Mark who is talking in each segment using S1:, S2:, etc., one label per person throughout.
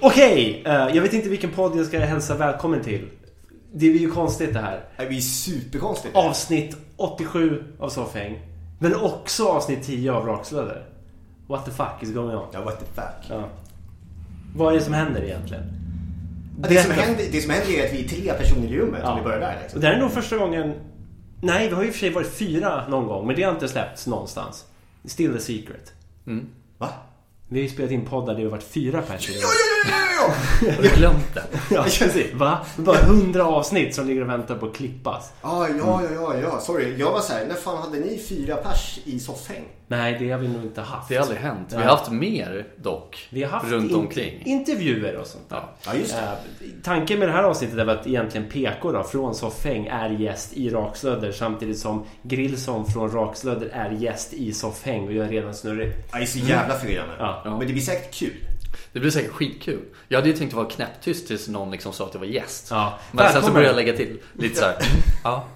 S1: Okej, eh, jag vet inte vilken podd jag ska hälsa välkommen till. Det blir ju konstigt det här.
S2: Nej, vi är superkonstiga.
S1: Avsnitt 87 av Soffhäng. Men också avsnitt 10 av Rakslöder. What the fuck is going on?
S2: Ja, what the fuck.
S1: Ja. Vad är det som händer egentligen?
S2: Ja, Det, som
S1: Berätta.
S2: händer, det som händer är att vi är tre personer i rummet om vi börjar där.
S1: Och
S2: Liksom.
S1: det här är nog första gången... Nej, det har ju i och för sig varit fyra någon gång, men det har inte släppts någonstans. Still a secret.
S2: Va?
S1: Vi har ju spelat in poddar där det har varit fyra personer.
S3: Har du glömt det?
S2: Ja, precis.
S1: Va? Det är Bara hundra avsnitt som ligger och väntar på att klippas.
S2: Ah, ja, ja, ja, ja. Sorry. Jag var så här, när fan hade ni fyra pers i soffhäng?
S1: Nej, det har vi nog inte haft.
S3: Det har aldrig hänt. Vi har haft mer dock.
S1: Vi har haft
S3: runt
S1: in-
S3: omkring.
S1: intervjuer och sånt där.
S3: Ja.
S2: Ja, just det.
S1: Eh, Tanken med det här avsnittet är väl att egentligen PK då, från Soffhäng är gäst i Rakslöder samtidigt som Grillson från Rakslöder är gäst i Soffhäng och jag är redan snurrig.
S2: Ja, det är så jävla förvirrande.
S1: Mm. Ja.
S2: Men det blir säkert kul.
S3: Det blir säkert skitkul. Jag hade ju tänkt att vara knäpptyst tills någon liksom sa att jag var gäst.
S1: Ja.
S3: Men sen så
S1: Välkommen. Mm.
S3: började jag lägga till lite så här.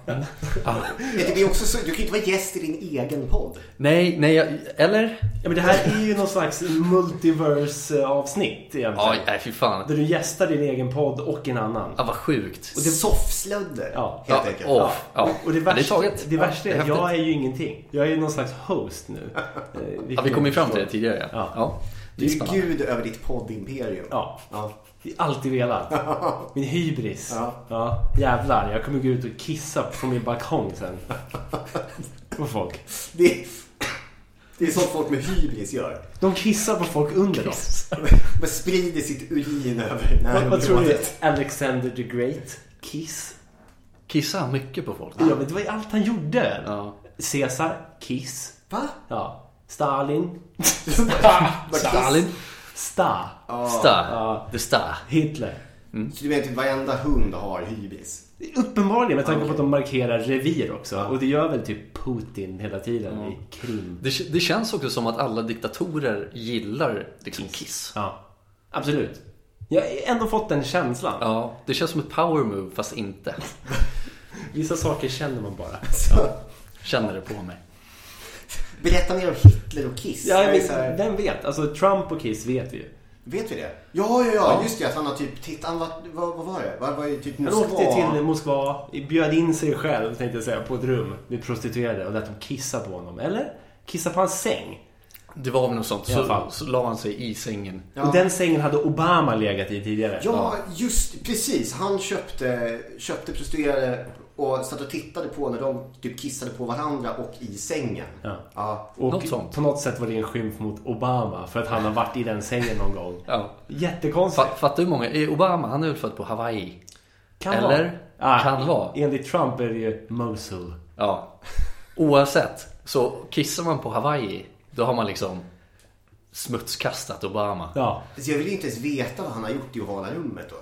S3: Mm. Ja.
S2: Vet du, det är också så, du kan ju inte vara gäst i din egen podd.
S3: Nej, nej, jag, eller?
S1: Ja, men det här är ju någon slags multiverse avsnitt egentligen.
S3: Oj, nej fy fan.
S1: Där du gästar din egen podd och en annan.
S3: Ja, vad sjukt.
S2: Och det... Soffslödder,
S1: Ja.
S2: helt
S3: Ja,
S2: enkelt.
S3: åh. Ja.
S1: Och det
S3: Ja, det är
S1: värsta,
S3: taget.
S1: det värsta
S3: Ja,
S1: är
S3: det är
S1: att jag är ju ingenting. Jag är ju någon slags host nu. Eh, vilket
S3: Ja, vi kom ju
S1: jag
S3: fram till det
S1: förstår.
S3: tidigare. Ja.
S1: Ja.
S2: Du
S3: Det är
S2: är ju
S3: spännande.
S2: gud över ditt poddimperium.
S1: Ja.
S2: ja.
S1: Det är Alltid velat. Min hybris.
S2: Ja.
S1: Jävlar, jag kommer gå ut och kissa på min balkong sen. På folk.
S2: Det, är- det är sånt folk med hybris gör.
S1: De kissar på folk under dem.
S2: Man sprider sitt urin över
S1: Vad, vad tror du?
S2: närområdet.
S1: Alexander the Great? Kiss?
S3: Kissa mycket på folk.
S1: Ja, men det var ju allt han gjorde.
S3: Ja.
S1: Caesar? Kiss?
S2: Va?
S1: Ja. Stalin?
S2: Vad kiss?
S3: Stalin.
S1: Sta?
S3: Sta. The Sta.
S1: Hitler?
S2: Så du menar typ varenda hund har hybris?
S1: Uppenbarligen med tanke på att de markerar revir också. Och det gör väl typ Putin hela tiden i Krim.
S3: Det, det känns också som att alla diktatorer gillar liksom Kiss.
S1: Ja, absolut. Jag har ändå fått den känslan.
S3: Ja, det känns som ett power move fast inte.
S1: Vissa saker känner man bara.
S2: Så,
S3: Känner det på mig.
S2: berätta mer om Hitler och Kiss.
S1: Ja,
S2: Jag är
S1: men,
S2: så här,
S1: vem vet? Alltså Trump och Kiss vet vi ju.
S2: vet vi det? Ja, ja, ja. Just det. Att han har typ... Titta, han var, vad, vad var det? Vad var det? Typ
S1: Han
S2: Moskva?
S1: åkte till Moskva, bjöd in sig själv tänkte jag säga, på ett rum med prostituerade och lät dem kissa på honom. Eller? Kissa på hans säng.
S3: Det var väl något sånt.
S1: I alla fall.
S3: Så, så la han sig i sängen.
S2: Ja.
S1: Och den sängen hade Obama legat i tidigare.
S2: Ja, just precis. Han köpte, köpte prostituerade och satt och tittade på när de typ kissade på varandra och i sängen.
S1: Ja.
S2: Ja.
S1: Och
S3: Något sånt.
S1: på något sätt var det en skymf mot Obama för att han har varit i den sängen någon gång.
S3: Ja.
S1: Jättekonstigt.
S3: Fa- Fattar hur många? eh, Obama, han är väl född på Hawaii?
S1: Kan
S3: Eller?
S1: vara. Ah,
S3: Kan vara.
S1: Enligt Trump är det ju Mosul.
S3: Ja. Oavsett, så kissar man på Hawaii, då har man liksom smutskastat Obama.
S1: Ja.
S2: Så jag vill ju inte ens veta vad han har gjort i ovala rummet då.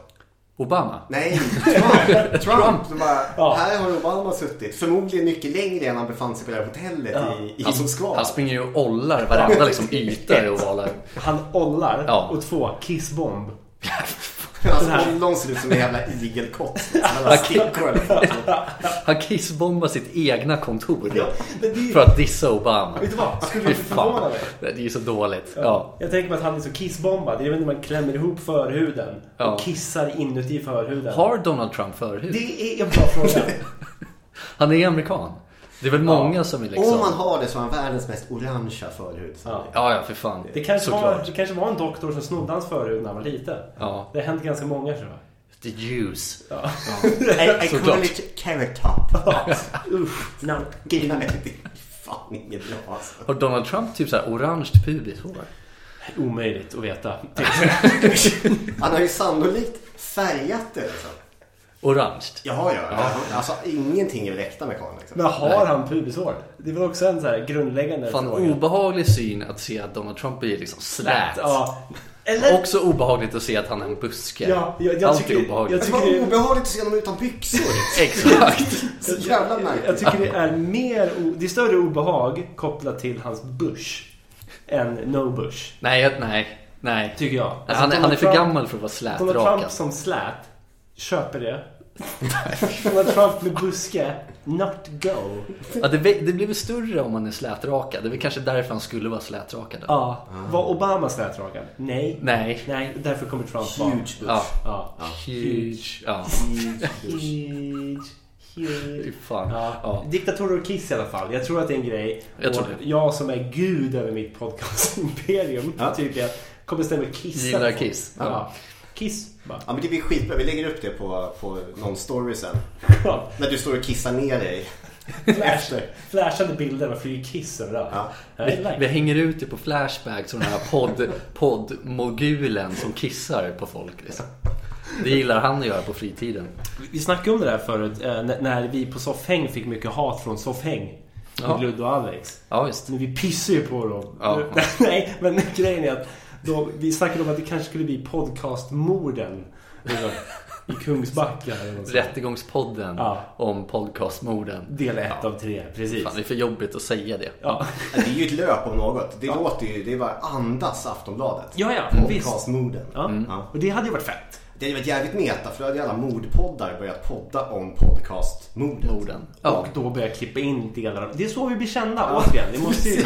S3: Obama?
S2: Nej, Trump. Trump. som Bara,
S1: Ja.
S2: Här har Obama suttit. Förmodligen mycket längre än han befann sig på det här hotellet i, i
S3: Han,
S2: Moskva.
S3: han springer ju och ollar varenda liksom yta i ovala.
S1: Han ollar
S3: Ja.
S1: och två, kissbomb.
S2: Hans
S1: Den Alltså, här-
S2: ollon Alltså, ser ut som en jävla igelkott. Alla stickor. liksom.
S3: Han kissbombar sitt egna kontor
S1: Ja, men det är ju-
S3: för att dissa Obama.
S1: Vet du vad? Skulle du
S3: Fy
S1: inte förvåna
S3: fan.
S1: dig?
S3: Det är ju så dåligt. Ja.
S1: Jag tänker mig att han är så kissbombad. Det är väl när man klämmer ihop förhuden
S3: Ja.
S1: och kissar inuti förhuden.
S3: Har Donald Trump förhud?
S1: Det är en bra fråga.
S3: Han är amerikan. Det är väl många som är liksom...
S2: Om man har det så har han världens mest orangea förhud.
S1: Ja.
S3: Ja, ja, för fan.
S1: Det kanske, var,
S3: Såklart.
S1: det kanske var en doktor som snodde hans förhud när han var liten.
S3: Ja.
S1: Det har hänt ganska många tror jag.
S3: The Jews.
S2: I, I
S3: Såklart.
S2: call it carrot top.
S1: Usch, no.
S2: Det är fan inget bra alltså.
S3: Har Donald Trump typ så här orange pubishår?
S1: Omöjligt att veta.
S2: Han har ju sannolikt färgat det liksom.
S3: Orange?
S2: Jaha, ja. ja. Alltså ingenting är väl äkta med karln liksom.
S1: Men har han pubishår? Det är väl också en så här grundläggande
S3: Fan
S1: fråga.
S3: obehaglig syn att se att Donald Trump är liksom slät.
S1: Ja. Eller?
S3: Också obehagligt att se att han är en buske.
S1: Ja, jag- jag
S3: Allt
S1: tycker-
S3: är obehagligt.
S1: jag
S2: Det
S1: tycker det
S2: var
S1: är-
S2: obehagligt att se honom utan byxor.
S3: Exakt.
S2: Så jävla
S1: Jag
S2: märkligt.
S1: tycker det är mer, o- det är större obehag kopplat till hans bush än no bush.
S3: nej, jag- nej, nej.
S1: Tycker jag. Alltså,
S3: han, är- han är
S1: Donald
S3: för
S1: Trump-
S3: gammal för att vara
S1: Donald Trump
S3: slätrakad.
S1: som slät köper det När Trump blir buske, not go.
S3: Ja, det, blir- det blir väl större om man är slätrakad. Det är väl kanske därför han skulle vara slätrakad.
S1: Ja. Var Obama slätrakad? Nej.
S3: Nej.
S1: Nej, därför kommer Trump vara...
S2: Huge bush.
S3: Ja.
S1: Ja.
S3: Huge. Ja.
S2: Huge bush.
S1: Huge.
S3: Fy
S1: Huge.
S3: Fan.
S1: Ja.
S3: Ja.
S1: Diktatorer och kiss i alla fall. Jag tror att det är en grej.
S3: Jag tror
S1: och
S3: det.
S1: jag som är gud över mitt podcastimperium
S2: Ja.
S1: tydligen kommer stämma och kissa.
S3: Gillar
S1: på.
S3: Kiss.
S1: Ja.
S3: Ja.
S1: Kiss bara.
S2: Ja men det blir skitbra. Vi lägger upp det på, på någon story sen.
S1: Ja.
S2: När du står och kissar ner dig.
S1: Flash, flashande bilder och flyger kiss överallt.
S2: Ja.
S1: Jag
S3: Vi,
S1: gillar
S3: vi
S1: det.
S3: hänger ut det på Flashback som den här podd, poddmogulen som kissar på folk. Liksom. Det gillar han att göra på fritiden.
S1: Vi snackade om det där förut eh, när- när vi på Soffhäng fick mycket hat från Soffhäng.
S3: Ja.
S1: Med Ludde och Alex.
S3: Ja, visst.
S1: Men vi pissar ju på dem.
S3: Ja.
S1: Nej, men grejen är att då, vi snackade om att det kanske skulle bli podcastmorden. Liksom, I Kungsbacka eller något sånt.
S3: Rättegångspodden
S1: Ja.
S3: om podcastmorden.
S1: Del ett av tre, precis.
S3: Fan, det är för jobbigt att säga det.
S1: Ja,
S2: Ja, Det är ju ett löp om något. Det låter ju, det var andas Aftonbladet.
S1: ja, ja visst. Mm.
S2: Podcastmorden.
S1: Ja.
S2: Ja.
S1: Och det hade ju varit fett.
S2: Det hade varit jävligt meta för då hade ju alla mordpoddar börjat podda om podcastmordet.
S3: Morden. Ja.
S1: Och då börjar jag klippa in delar av... Det är så vi blir kända, återigen. Det måste ju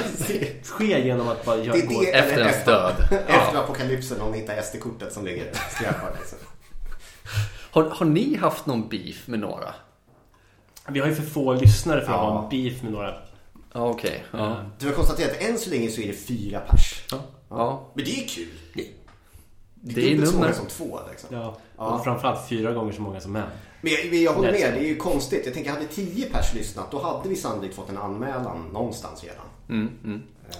S1: ske genom att bara göra...
S2: Det är det,
S1: gå-
S2: eller
S3: Efter ens död.
S2: efter apokalypsen om de hittar SD-kortet som ligger skräpar. Liksom.
S3: Har, har ni haft någon beef med några?
S1: Vi har ju för få lyssnare för att
S2: Ja.
S1: ha en beef med några.
S3: Ja, okej. Ja.
S2: Du har konstaterat att än så länge så är det fyra pers.
S3: Ja.
S2: Men det är ju kul.
S3: Det är
S2: dubbelt så många
S3: nummer.
S2: som två. Liksom.
S1: Ja.
S2: Ja.
S1: Och framförallt fyra gånger så många som män.
S2: Men, jag, men jag håller med, det är ju konstigt. Jag tänker, hade tio pers lyssnat då hade vi sannolikt fått en anmälan någonstans redan.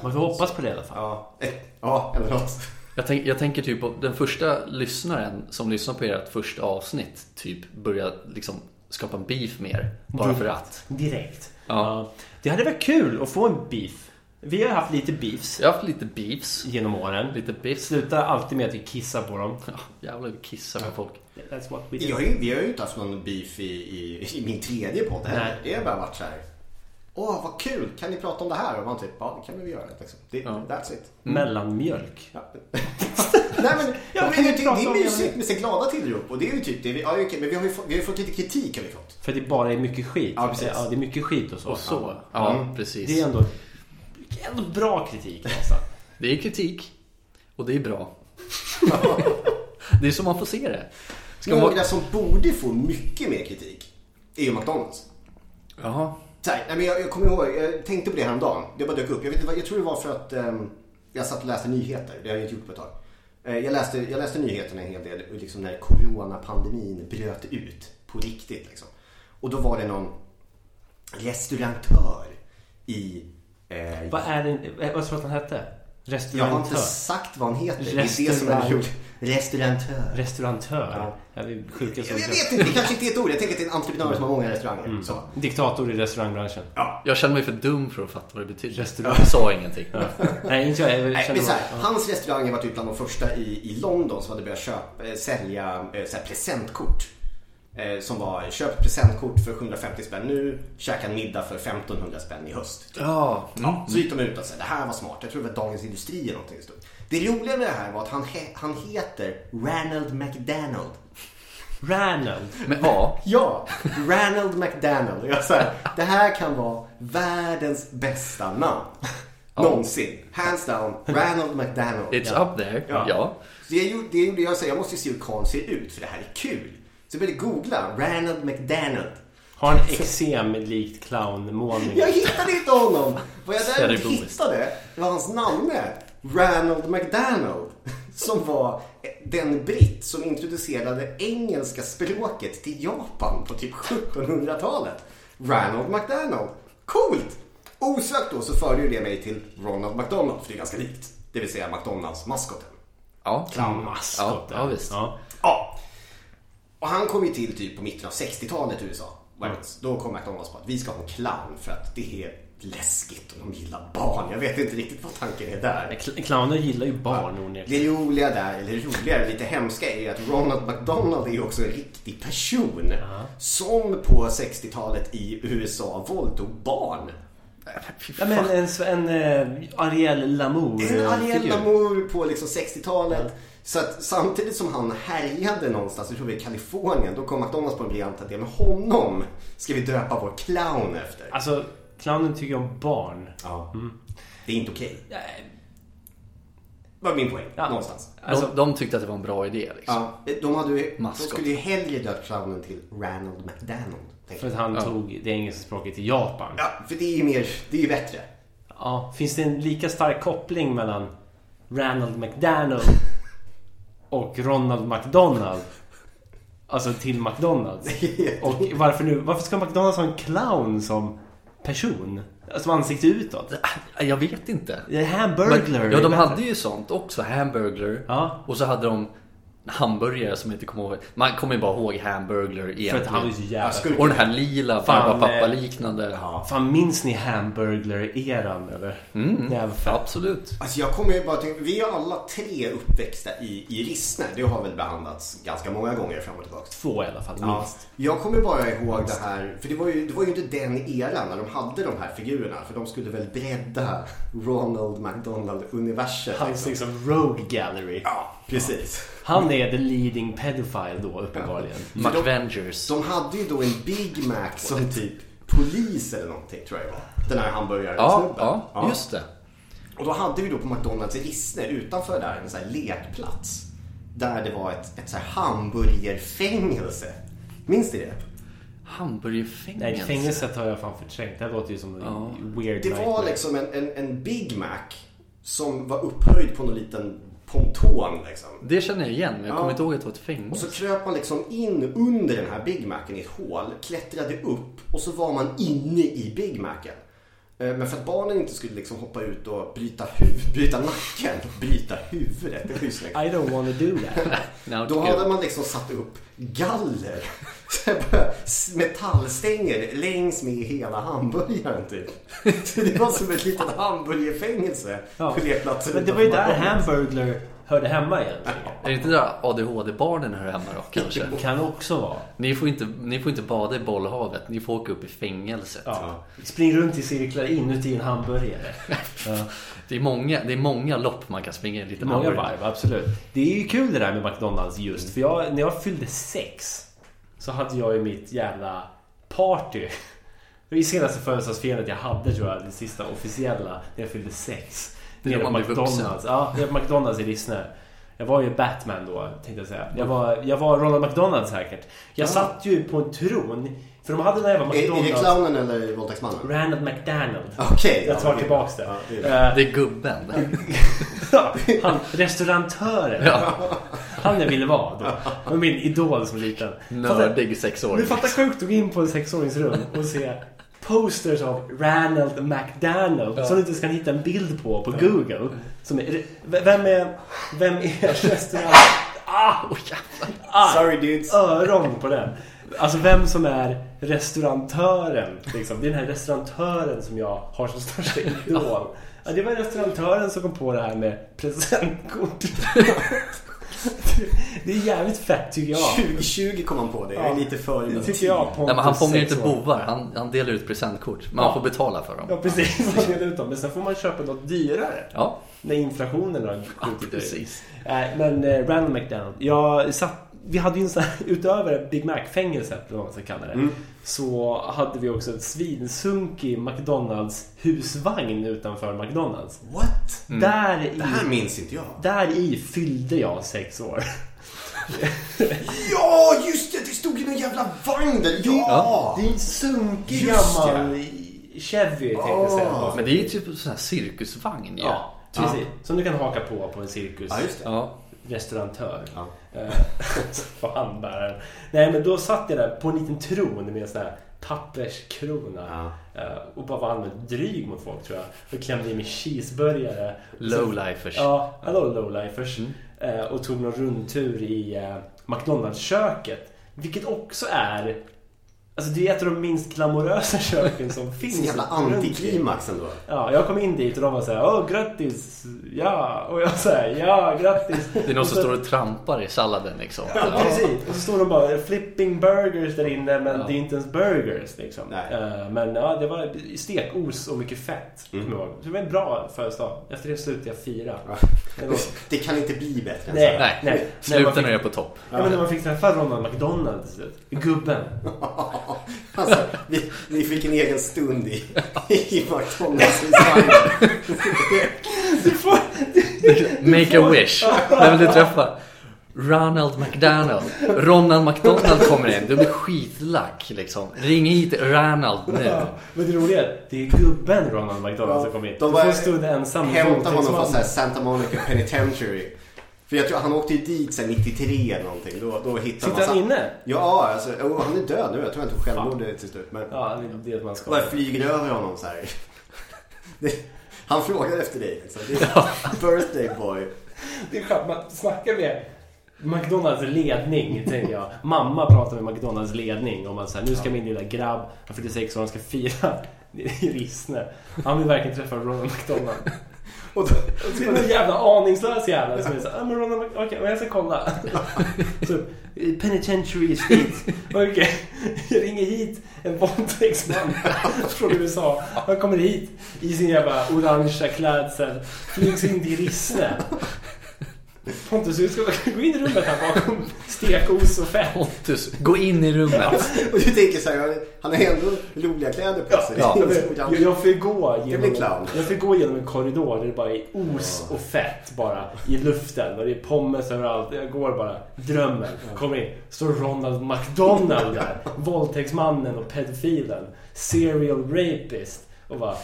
S1: Man får hoppas på det i alla fall.
S2: Ja, eh, ja eller något.
S3: Jag, tänk, jag tänker typ på den första lyssnaren som lyssnar på ert första avsnitt typ börjar liksom skapa en beef med er. Bara för att.
S1: Direkt.
S3: Ja.
S1: Det hade varit kul att få en beef. Vi har haft lite beefs
S3: Jag har haft lite beefs.
S1: genom åren.
S3: Lite beefs.
S1: Slutar alltid med att vi kissar på dem.
S3: Ja, jävlar vi kissar på folk.
S1: That's what we
S2: Jag
S1: do.
S2: har ju, vi har ju inte haft någon beef i, i, i min tredje podd heller.
S1: Nej.
S2: Det har bara varit så här. Åh, vad kul! Kan ni prata om det här? Och man typ, ja, det kan vi väl göra. Liksom. Det,
S3: Ja.
S2: That's it.
S1: Mm. Mellanmjölk.
S2: Ja. Nej, men,
S1: Jag
S2: men, det,
S1: vill prata
S2: det är
S1: om det.
S2: mysigt med sin glada tillrop. Och det är ju typ det. Vi, ja, okej, men vi har ju fått, vi har ju fått lite kritik. Har vi fått.
S1: För att det bara är mycket skit.
S2: Ja, precis.
S1: det är mycket skit och så.
S3: Och så.
S1: Ja.
S3: Ja,
S2: Mm.
S3: precis.
S1: Det är ändå, ändå bra kritik alltså. nästan.
S3: Det är kritik. Och det är bra. det är så man får se det. Ska man...
S2: Några
S3: vara-
S2: som borde få mycket mer kritik är ju McDonalds.
S3: Jaha.
S2: Så här, nej, men jag, jag kommer ihåg, jag tänkte på det häromdagen. Det bara dök upp. Jag, vet inte, vad- jag tror det var för att ehm, jag satt och läste nyheter. Det har jag inte gjort på ett tag. Eh, jag, läste, jag läste nyheterna en hel del och liksom när coronapandemin bröt ut på riktigt. Liksom. Och då var det någon restaurantör i... Eh,
S1: Vad är det, eh, vad sa du att han hette?
S2: jag har inte
S1: Restaurantör?
S2: sagt vad han heter. Det är det som är
S1: Restaurang-
S2: gjort. Restaurantör.
S1: Restaurantör?
S2: Ja.
S1: Ja. vi är Mm. sjuka som
S2: Jag vet inte, det kanske inte är ett ord. Jag tänker att det är en entreprenör som har många restauranger. Så.
S1: Diktator i restaurangbranschen.
S3: Jag känner mig för dum för att fatta vad det betyder.
S1: Restaurang.
S3: Jag sa ingenting.
S1: Nej, inte jag. jag
S2: Nej,
S1: känner
S2: men så här,
S1: bara-
S2: hans restauranger var typ bland de första i, i London som hade börjat köpa, eh, sälja eh, så här presentkort. Eh, som var köp ett presentkort för 750 spänn nu, käka en middag för 1500 spänn i höst.
S3: Ja. Mm.
S2: Så gick de ut och sa det här var smart. Jag tror det var Dagens Industri eller någonting i stort. Det roliga med det här var att han, he- han heter Ranald McDonald.
S1: Ranald.
S3: Men ja.
S2: Ja, Ranald McDonald. Jag så här, det här kan vara världens bästa namn. Någonsin. Hands down, Ranald McDonald.
S3: It's up there.
S2: Ja.
S3: Ja.
S2: Så jag gjorde, det gjorde jag så här, jag måste ju se hur Karl ser ut för det här är kul. Så jag började googla Ranald McDonald.
S1: Har en eksem likt clownmålning.
S2: Jag hittade inte honom! Vad jag däremot
S3: Cerebromiskt.
S2: hittade var hans namne. Ranald McDonald. Som var den britt som introducerade engelska språket till Japan på typ 1700-talet. Ranald McDonald. Coolt! Osökt då så förde ju det mig till Ronald McDonald, för det är ganska likt. Det vill säga McDonalds-maskoten.
S3: Ja.
S1: Clownmaskot.
S3: Ja, ja, visst.
S1: Ja.
S2: Ja. Och han kom ju till typ på mitten av 60-talet i USA. Wales. Då kom McDonalds på att vi ska ha en clown för att det är läskigt och de gillar barn. Jag vet inte riktigt vad tanken är där.
S1: Cl- Clowner gillar ju barn onekligen.
S2: Det roliga där, eller roligare, lite hemska är ju att Ronald McDonald är ju också en riktig person. Som på 60-talet i USA våldtog barn.
S3: Fy
S1: Ja,
S3: fan.
S1: men en, sv- en eh, Ariel Lamour
S2: En
S1: eh,
S2: Ariel
S1: figur.
S2: Lamour på liksom 60-talet. Så att samtidigt som han härjade någonstans, jag tror det var i Kalifornien, då kom McDonalds på en briljant idé. Men honom ska vi döpa vår clown efter.
S1: Alltså, clownen tycker om barn.
S2: Ja.
S1: Mm.
S2: Det är inte okej. Var min poäng. Någonstans.
S1: Alltså-
S3: de, de tyckte att det var en bra idé. Liksom.
S2: Ja, de, hade ju, de
S3: Maskot.
S2: skulle ju hellre döpt clownen till Ranald McDonald. tänker
S1: För
S2: jag.
S1: att han tog det engelska språket till Japan. Ja.
S2: Ja, för det är ju mer, det är ju bättre.
S1: Finns det en lika stark koppling mellan Ronald McDonald och Ronald McDonald? Alltså till McDonalds. Och varför nu? Varför ska McDonalds ha en clown som person? Som ansikte utåt?
S3: Jag vet inte.
S1: Det är Hamburglar.
S3: Men, ja, de hade ju sånt också. Hamburglar.
S1: Ja.
S3: Och så hade de hamburgare som jag inte kommer ihåg. Man kommer ju bara ihåg hamburglar egentligen.
S1: För att han är så jävla...
S2: Jag skulle-
S3: Och den här lila
S1: Fan,
S3: farbror pappa
S1: eh,
S3: liknande.
S1: Fan, minns ni Hamburglar-eran eller? Mm. Jävla
S3: Absolut.
S2: Alltså jag kommer ju bara tänka, vi är alla tre uppväxta i, i Rissne. Det har väl behandlats ganska många gånger fram och tillbaka.
S1: Två i alla fall,
S2: Ja,
S1: minst.
S2: jag kommer bara ihåg det här, för det var, ju, det var ju inte den eran när de hade de här figurerna. För de skulle väl bredda Ronald McDonald-universum.
S1: Han ser
S2: liksom.
S1: ut som Rogue Gallery.
S2: Ja, precis.
S1: Han är the leading pedophile då uppenbarligen.
S3: McVengers.
S2: De hade ju då en Big Mac som typ polis eller någonting tror jag det var. Den här
S3: Ja,
S2: hamburgaren-snubben.
S3: ja, just det.
S2: Och då hade vi då på McDonalds i Rissne utanför där en sån här lekplats. Där det var ett, ett så här hamburgerfängelse. Minns ni det?
S1: Nej,
S3: Hamburgerfängelse.
S1: fängelset har jag fan förträngt. Det här låter ju som en
S3: Mm. Ja.
S1: weird
S2: Det var
S1: nightmare.
S2: liksom en, en, en Big Mac som var upphöjd på någon liten ponton liksom.
S3: Det känner jag igen, men jag
S2: Ja.
S3: kommer inte ihåg att det var ett
S2: Och så
S3: fängelse.
S2: kröp man liksom in under den här Big Macen i ett hål, klättrade upp och så var man inne i Big Macen. Eh, Men för att barnen inte skulle liksom hoppa ut och bryta, huv- bryta nacken, bryta huvudet, det liksom. var ju snyggt.
S1: I don't wanna do that.
S3: Nej,
S2: Då
S3: okej.
S2: hade man liksom satt upp galler, så här bara metallstänger längs med hela hamburgaren typ. Så det var som ett litet hamburgerfängelse
S1: Ja.
S2: på lekplatsen.
S1: Men det var ju där
S2: utanför McDonald's.
S1: Hamburglar hörde hemma egentligen.
S3: Är det inte där ADHD-barnen hör hemma då kanske?
S1: Kan också vara.
S3: Ni får, inte, ni får inte bada i bollhavet, ni får åka upp i fängelset.
S1: Ja. Spring runt i cirklar inuti en hamburgare. Ja.
S3: Det, är många, det är många lopp man kan springa i en liten
S1: Många
S3: hamburgare.
S1: varv, absolut. Det är ju kul det där med McDonalds just. För jag, när jag fyllde sex så hade jag ju mitt jävla party. Det var ju senaste födelsedagsfirandet jag hade tror jag. Det sista officiella när jag fyllde sex.
S3: Det är
S1: Nere
S3: då
S1: på
S3: man blir vuxen.
S1: McDonalds. Ja, nere på McDonalds i Rissne. Jag var ju Batman då, tänkte jag säga. Jag var, jag var Ronald McDonald säkert. Jag satt ju på en tron. För de hade när jag var
S2: Är, är det
S1: McDonalds...
S2: clownen eller våldtäktsmannen?
S1: Ronald McDonald.
S2: Okej.
S1: Jag tar
S2: ja,
S1: tillbaks det.
S2: ja, det är
S1: Eh,
S3: Det är gubben.
S1: Ja, han, restaurantören. Han jag ville vara då. Det var min idol som liten. Fattar-
S3: Nördig
S1: Du
S3: sexåring.
S1: fattar sjukt att gå in på en sexåringsrum och se posters av Ranald McDonald som du inte ens kan hitta en bild på på Google. Som är, vem är, vem är restaurang... Ah!
S3: Oj, jävlar.
S1: ah
S2: Sorry dudes.
S1: öron på den. Alltså vem som är restaurantören. Liksom. Det är den här restaurantören som jag har som största idol. Ja, det var restaurantören som kom på det här med presentkort. Det är jävligt fett tycker jag.
S2: 2020 kom han på det. Jag är
S1: Ja.
S2: lite före
S1: Det
S2: min
S1: tycker
S2: tid.
S1: jag på
S3: Nej, men han fångar ju inte
S1: sex år.
S3: bovar, han, han delar ut presentkort. Men han får betala för
S1: Ja
S3: dem.
S1: precis, man delar ut dem. Men sen får man köpa något dyrare.
S3: Ja,
S1: När inflationen har skjutit
S3: precis.
S1: Nej, men eh, Randall McDonald. Jag satt, vi hade ju en sån här, utöver Big Mac-fängelset, eller vad man ska kalla det,
S2: Mm.
S1: så hade vi också en svinsunkig McDonalds husvagn utanför McDonalds.
S2: What?
S1: Mm.
S3: Mm.
S1: Där, i,
S2: Det här minns inte jag.
S1: där i fyllde jag sex år.
S2: Ja, just det! Det stod ju någon jävla vagn där. Ja!
S1: Det är en sunkig
S2: Just
S1: gammal Chevy, tänkte jag säga.
S2: Ah.
S3: men det är ju typ en sån här cirkusvagn ju.
S1: Ja, precis. Som du kan haka på på en cirkus.
S2: Ja, just det.
S3: Ja.
S1: restaurantör.
S2: Ja.
S1: Eh, Får han bära den. Nej men då satt jag där på en liten tron med en sån här papperskrona. Eh, Och bara var allmänt dryg mot folk tror jag. Och klämde i mig cheeseburgare.
S3: Lowlifers.
S1: Ja, alla lowlifers.
S2: Mm.
S1: Eh, Och tog någon rundtur i eh, McDonalds-köket. Vilket också är Alltså det är ett av de minst glamorösa köken som finns.
S2: Så jävla
S1: runt omkring.
S2: antiklimax ändå.
S1: Ja, jag kom in dit och de var såhär Åh, grattis! Ja! Och jag säger ja, grattis!
S3: Det är någon som står och trampar i salladen liksom.
S1: Ja, precis. Och så står de bara flipping burgers där inne men
S3: Ja.
S1: det är inte ens burgers liksom.
S2: Nej.
S1: Eh, Men ja, det var stekos och mycket fett.
S2: Mm.
S1: kommer jag ihåg. Så det var en bra födelsedag. Efter det slutade jag fira. Det var...
S2: Det kan inte bli bättre än så.
S1: Nej,
S2: här.
S3: Nej,
S1: nej. nej. man
S3: sluta
S1: fick...
S3: när jag är på topp.
S1: Ja, men när man fick träffa Ronald McDonald till slut. Gubben.
S2: Alltså, vi, vi fick en egen stund i, i McDonalds restaurang.
S1: Du får...
S3: Make a wish. Vem vill du träffa? Ronald McDonald. Ronald McDonald kommer in. Du blir skitlack liksom. Ring hit Ronald nu.
S1: Men det roliga är att det är gubben Ronald McDonald som kom in.
S2: De
S1: De
S2: bara
S1: var... stod ensam med
S2: Hämtade honom från
S1: våldtäktsmannen.
S2: så här Santa Monica Penitentiary. För jag tror, han åkte ju dit sen 93 eller någonting. Då, då hittade
S1: Sitter han inne?
S2: Ja, alltså, oh, han är död nu. Jag tror han tog självmord till slut. Men
S1: Ja, det är det man ska.
S2: bara flyger över honom så här. Det, han frågade efter dig. Liksom. Det är birthday boy.
S1: Det är skönt, man snackar med McDonalds ledning, tänker jag. Mamma pratar med McDonalds ledning om att så här, nu ska min lilla grabb, han fyller sex år, han ska fira i Rissne. Han vill verkligen träffa Ronald McDonald.
S2: Och då,
S1: Det är en jävla aningslös jävel som är såhär, ah, men Ronald Mc- okej, men jag ska kolla. Så, i penitentiary street. Okej, jag ringer hit en våldtäktsman från USA. Han kommer hit i sin jävla orangea klädsel. Flygs in till Rissne. Pontus, du ska gå in i rummet här bakom stekos och fett.
S3: Pontus, gå in i rummet.
S2: och du tänker så här, han har ändå roliga kläder på sig.
S3: Ja.
S1: Jag, jag, får gå
S2: blir
S1: genom,
S2: clown.
S1: jag får gå genom en korridor där det bara är os och fett bara i luften. Och det är pommes överallt. Jag går bara, drömmer. Kommer in, står Ronald McDonald där. Våldtäktsmannen och pedofilen. Serial rapist. Och bara,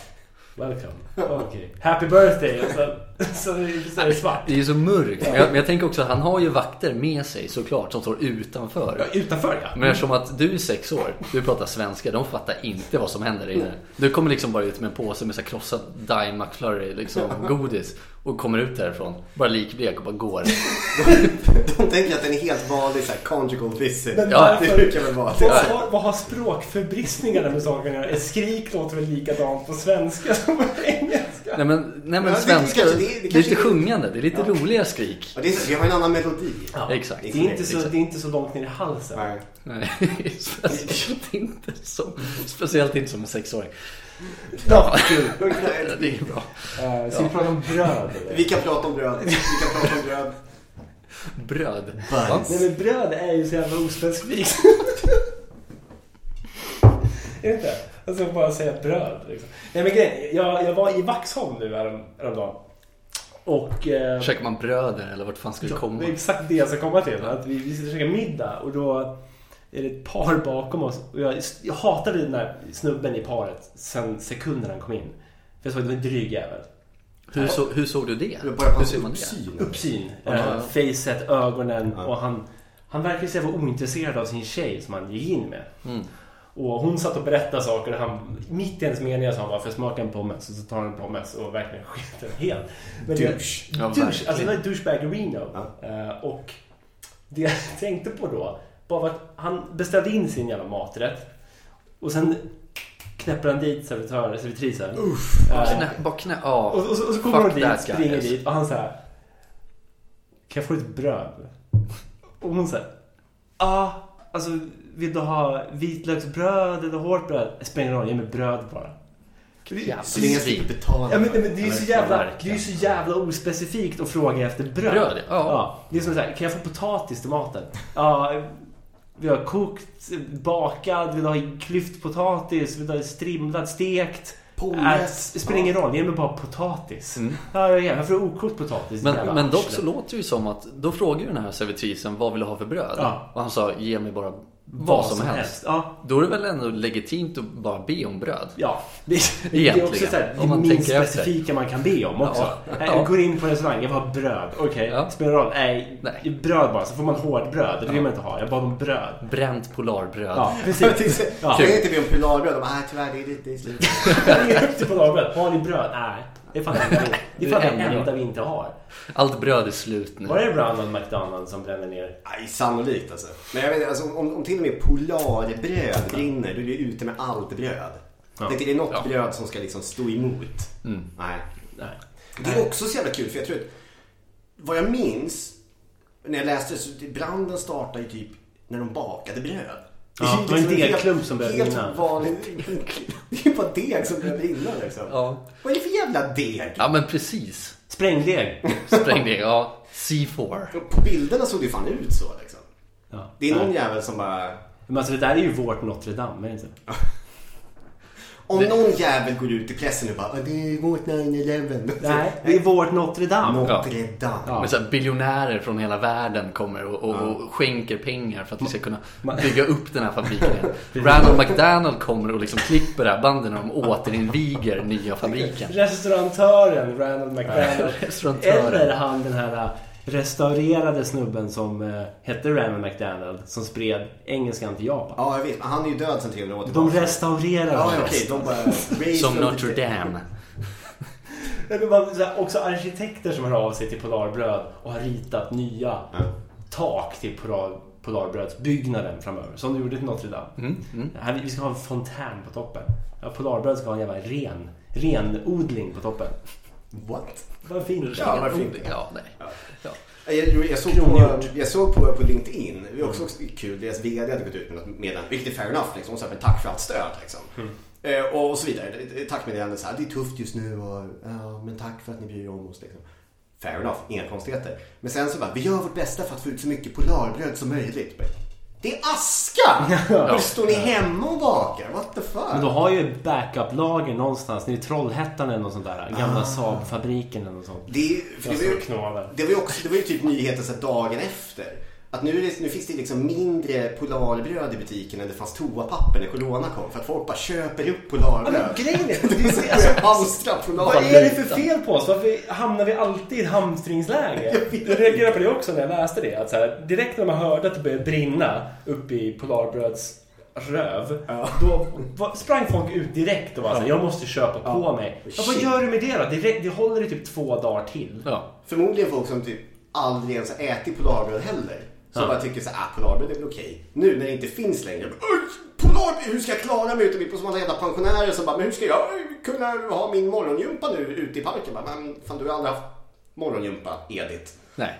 S1: welcome. Okay. Happy birthday. Och så, så, är det- så är det svart.
S3: Det är ju så mörkt. Men jag, men jag tänker också att han har ju vakter med sig såklart som står utanför.
S1: Utanför ja.
S3: Men eftersom att du är sex år, du pratar svenska, de fattar inte vad som händer där inne. Du kommer liksom bara ut med en påse med så här krossad Dime McFlurry, liksom godis. Och kommer ut därifrån, bara likblek och bara går.
S2: De tänker att den är helt vanlig så här, conjugal visit.
S1: Men
S3: Ja,
S2: det brukar väl vara det.
S1: Vad har, vad har språkförbristningarna med saker att göra? Ett skrik låter väl likadant på svenska som på engelska?
S3: Nej men, nej, men
S2: Ja, det-
S3: svenska,
S2: det
S3: det,
S2: kanske- det- det
S3: är
S2: kanske-
S3: lite sjungande, det är lite roliga skrik.
S2: Och det är så, vi har en annan melodi.
S1: Ja,
S3: Exakt.
S1: Det är, inte så,
S3: Exakt.
S1: det är inte så långt ner i halsen.
S2: Nej.
S3: Nej, speciellt inte som, speciellt inte som en sexåring.
S1: Ja,
S3: Ja, Det är bra.
S1: Eh, Ska vi prata om bröd? eller?
S2: Vi kan prata om bröd. Vi kan prata om bröd.
S3: Bröd.
S2: Buns.
S1: Nej men bröd är ju så jävla ospecifikt. är det inte? Alltså bara säga bröd. Liksom. Nej men grejen, jag, jag var i Vaxholm nu härom, häromdagen. Och... eh,
S3: Käkar man bröd där, eller vart fan ska vi komma?
S1: Det är exakt det jag ska komma till. Att vi, vi sitter och käkar middag och då är det ett par bakom oss. Och jag, jag hatade den där snubben i paret sen sekunden han kom in. För jag såg att det var en dryg jävel.
S3: Hur, så, hur såg du det?
S2: Det är Bara typ
S3: Hur
S2: hans
S3: ser man det?
S2: uppsyn.
S1: Uppsyn.
S3: Ja.
S1: Eh, facet, ögonen
S2: Ja.
S1: och han, han verkar ju så vara ointresserad av sin tjej som han gick in med.
S3: Mm.
S1: Och hon satt och berättade saker och han, mitt i ens meningar sa han bara, för smaka en pommes? Och så tar han en pommes och verkligen sket den helt. Men det-
S2: Douche.
S3: Ja,
S1: douche,
S3: verkligen.
S1: alltså det var ett douchebaggerino.
S2: Ja.
S1: Eh, och det jag tänkte på då, bara var att han beställde in sin jävla maträtt. Och sen knäpper han dit Eh, servitören, servitrisen. Uff,
S3: Knä, bara knä, ja.
S1: och, och, så- och så kommer
S3: Fuck
S1: hon dit,
S3: that, alltså.
S1: springer
S3: guys.
S1: dit och han såhär. Kan jag få ett bröd? Och hon säger Ja, ah, alltså vill du ha vitlöksbröd eller hårt bröd? Det spelar ingen roll, ge mig bröd bara.
S3: Jävla
S2: Så länge jag
S3: svin.
S2: slipper betala.
S1: Ja, men, men det är ju så jävla, det är
S3: verkligen.
S1: ju så jävla ospecifikt att fråga efter bröd.
S3: Bröd, ja.
S1: det är som såhär, kan jag få potatis till maten? Ja, vi har kokt, bakad, vill du ha klyftpotatis, vill du ha strimlad, stekt?
S2: Pommes.
S1: Äh, spelar ingen roll, ge mig bara potatis. Ja, jag är varför okokt potatis? jävla
S3: Mm. Men, men dock
S1: arsle.
S3: så låter det ju som att då frågar ju den här servitrisen vad vill du ha för bröd?
S1: Ja.
S3: Och han sa ge mig bara vad som, helst.
S1: Ja,
S3: Då är det väl ändå legitimt att bara be om bröd?
S1: ja. Det, är- det är
S3: Egentligen,
S1: också så här,
S3: om
S1: det
S3: man
S1: minst
S3: tänker efter.
S1: specifika man kan be om också. Äh,
S3: Ja.
S1: Jag går in på en restaurang, jag vill ha bröd. Okej,
S3: Ja.
S1: spelar roll? Nej,
S3: Nej.
S1: bröd bara. Så får man hårdbröd. Det vill man inte ha. Jag bad om bröd.
S3: Bränt polarbröd.
S1: Ja,
S2: Jag
S1: precis.
S2: tänkte-
S1: Ja.
S2: "Ah, Jag tänkte be om Polarbröd. De bara, "Nej, tyvärr det är, det är slut.
S1: Jag ringde upp till Polarbröd. Har ni bröd? Nej. Det är fan det enda vi- det är fan
S3: Det
S1: det
S3: är
S1: enda vi inte har.
S3: Allt bröd är slut nu.
S1: Var det Ronald McDonald som brände ner?
S2: Nej, sannolikt alltså. Men jag vet, alltså, om, om till och med Polarbröd brinner, då är det ute med allt bröd.
S1: Ja.
S2: Det är inte något
S3: Ja. Mm.
S2: bröd som ska liksom stå emot. Nej.
S1: Nej.
S2: Det är också så jävla kul, för jag tror att vad jag minns när jag läste det, så det- branden startade ju typ när de bakade bröd.
S1: Ja,
S2: är
S1: det
S2: ju
S1: var en
S2: liksom helt-
S1: degklump som började brinna.
S2: Helt vanligt. Det är ju bara deg som börjar brinna liksom.
S3: Ja.
S2: Vad är det för jävla deg?
S3: Ja men precis.
S1: Sprängdeg.
S3: Sprängdeg, ja. C4.
S2: På bilderna såg det ju fan ut så liksom.
S1: Ja.
S2: Det är någon
S1: Nej.
S2: jävel som bara
S1: Men alltså det där är ju vårt Notre Dame, är det inte?
S2: Om någon jävel går ut i pressen och bara "Ah, det är vårt 9-11.
S1: Nej, det är vårt Notre Dame.
S2: Notre Dame.
S1: Ja.
S3: Men så här, biljonärer från hela världen kommer och, och, och skänker pengar för att vi ska kunna bygga upp den här fabriken. Ronald McDonald kommer och liksom klipper det här banden och de återinviger nya fabriken.
S1: Restaurantören Ronald McDonald.
S3: Restaurantören.
S1: Eller han den här äh, restaurerade snubben som äh, hette Ronald McDonald som spred engelskan till Japan.
S2: Ja, jag vet. Men Han är ju död sedan 300 år
S1: De
S2: tillbaka.
S1: restaurerar
S2: Ja,
S1: honom.
S2: ja, okej. De bara... raised
S3: Som
S2: from
S3: Notre
S2: the-
S3: Dame.
S1: Ja, men man, så här, också arkitekter som hör av sig till Polarbröd och har ritat nya
S2: Ja.
S1: tak till Polar, Polarbrödsbyggnaden framöver. Som du gjorde till Notre Dame.
S3: Mm,
S1: Här, vi ska ha en fontän på toppen. Ja, Polarbröd ska ha en jävla ren, renodling på toppen.
S2: What?
S1: Vad fint.
S2: Ja, varför inte?
S3: Ja, nej. Ja.
S2: Jag, jag, jag, såg på,
S1: Kronhjort.
S2: jag såg på, på LinkedIn, det var också kul, deras VD hade gått ut med något meddelande, vilket är fair enough, liksom, så här, men tack för allt stöd. Liksom.
S1: Mm.
S2: Eh, och så vidare. Tack meddelande så här, det är tufft just nu och ja, men tack för att ni bryr er om oss. Liksom. Fair enough, inga konstigheter. Men sen så bara, vi gör vårt bästa för att få ut så mycket Polarbröd som möjligt. Men Det är aska! Och står ni hemma och bakar? What the
S1: Men då
S2: fuck?
S1: har ju backup-lager någonstans nere i Trollhättan eller något sånt där.
S2: Ah.
S1: Gamla Saab-fabriken eller något sånt. Alltså,
S2: Det, är- för det, var ju,
S1: knålar.
S2: det, var ju också, det var ju typ nyheten så här dagen efter. Att nu, är det, nu finns det liksom mindre Polarbröd i butiken än det fanns toapapper när Corona kom. För att folk bara köper upp Polarbröd.
S1: Men grejen är-
S2: det är så alltså, hamstra
S1: Vad
S2: Polarbröd.
S1: är det för fel på oss? Varför hamnar vi alltid i ett hamstringsläge? Jag reagerade på det också när jag läste det. Att så här, direkt när man hörde att det började brinna uppe i Polarbröds röv. Då va- sprang folk ut direkt och var så här, jag måste köpa på mig. Ja, vad
S2: Shit.
S1: gör du med det då? Direkt, det håller i typ två dagar till.
S3: Ja.
S2: Förmodligen folk som typ aldrig ens har ätit Polarbröd heller. Som bara tycker så här, ah, Polarbröd är väl okej. Nu när det inte finns längre. bara, "Oj, Polarbröd, hur ska jag klara mig ute? Vi är på sådana jävla pensionärer som bara, men hur ska jag kunna ha min morgongympa nu ute i parken? Bara, men fan du har aldrig haft morgongympa, Edith.
S3: Nej.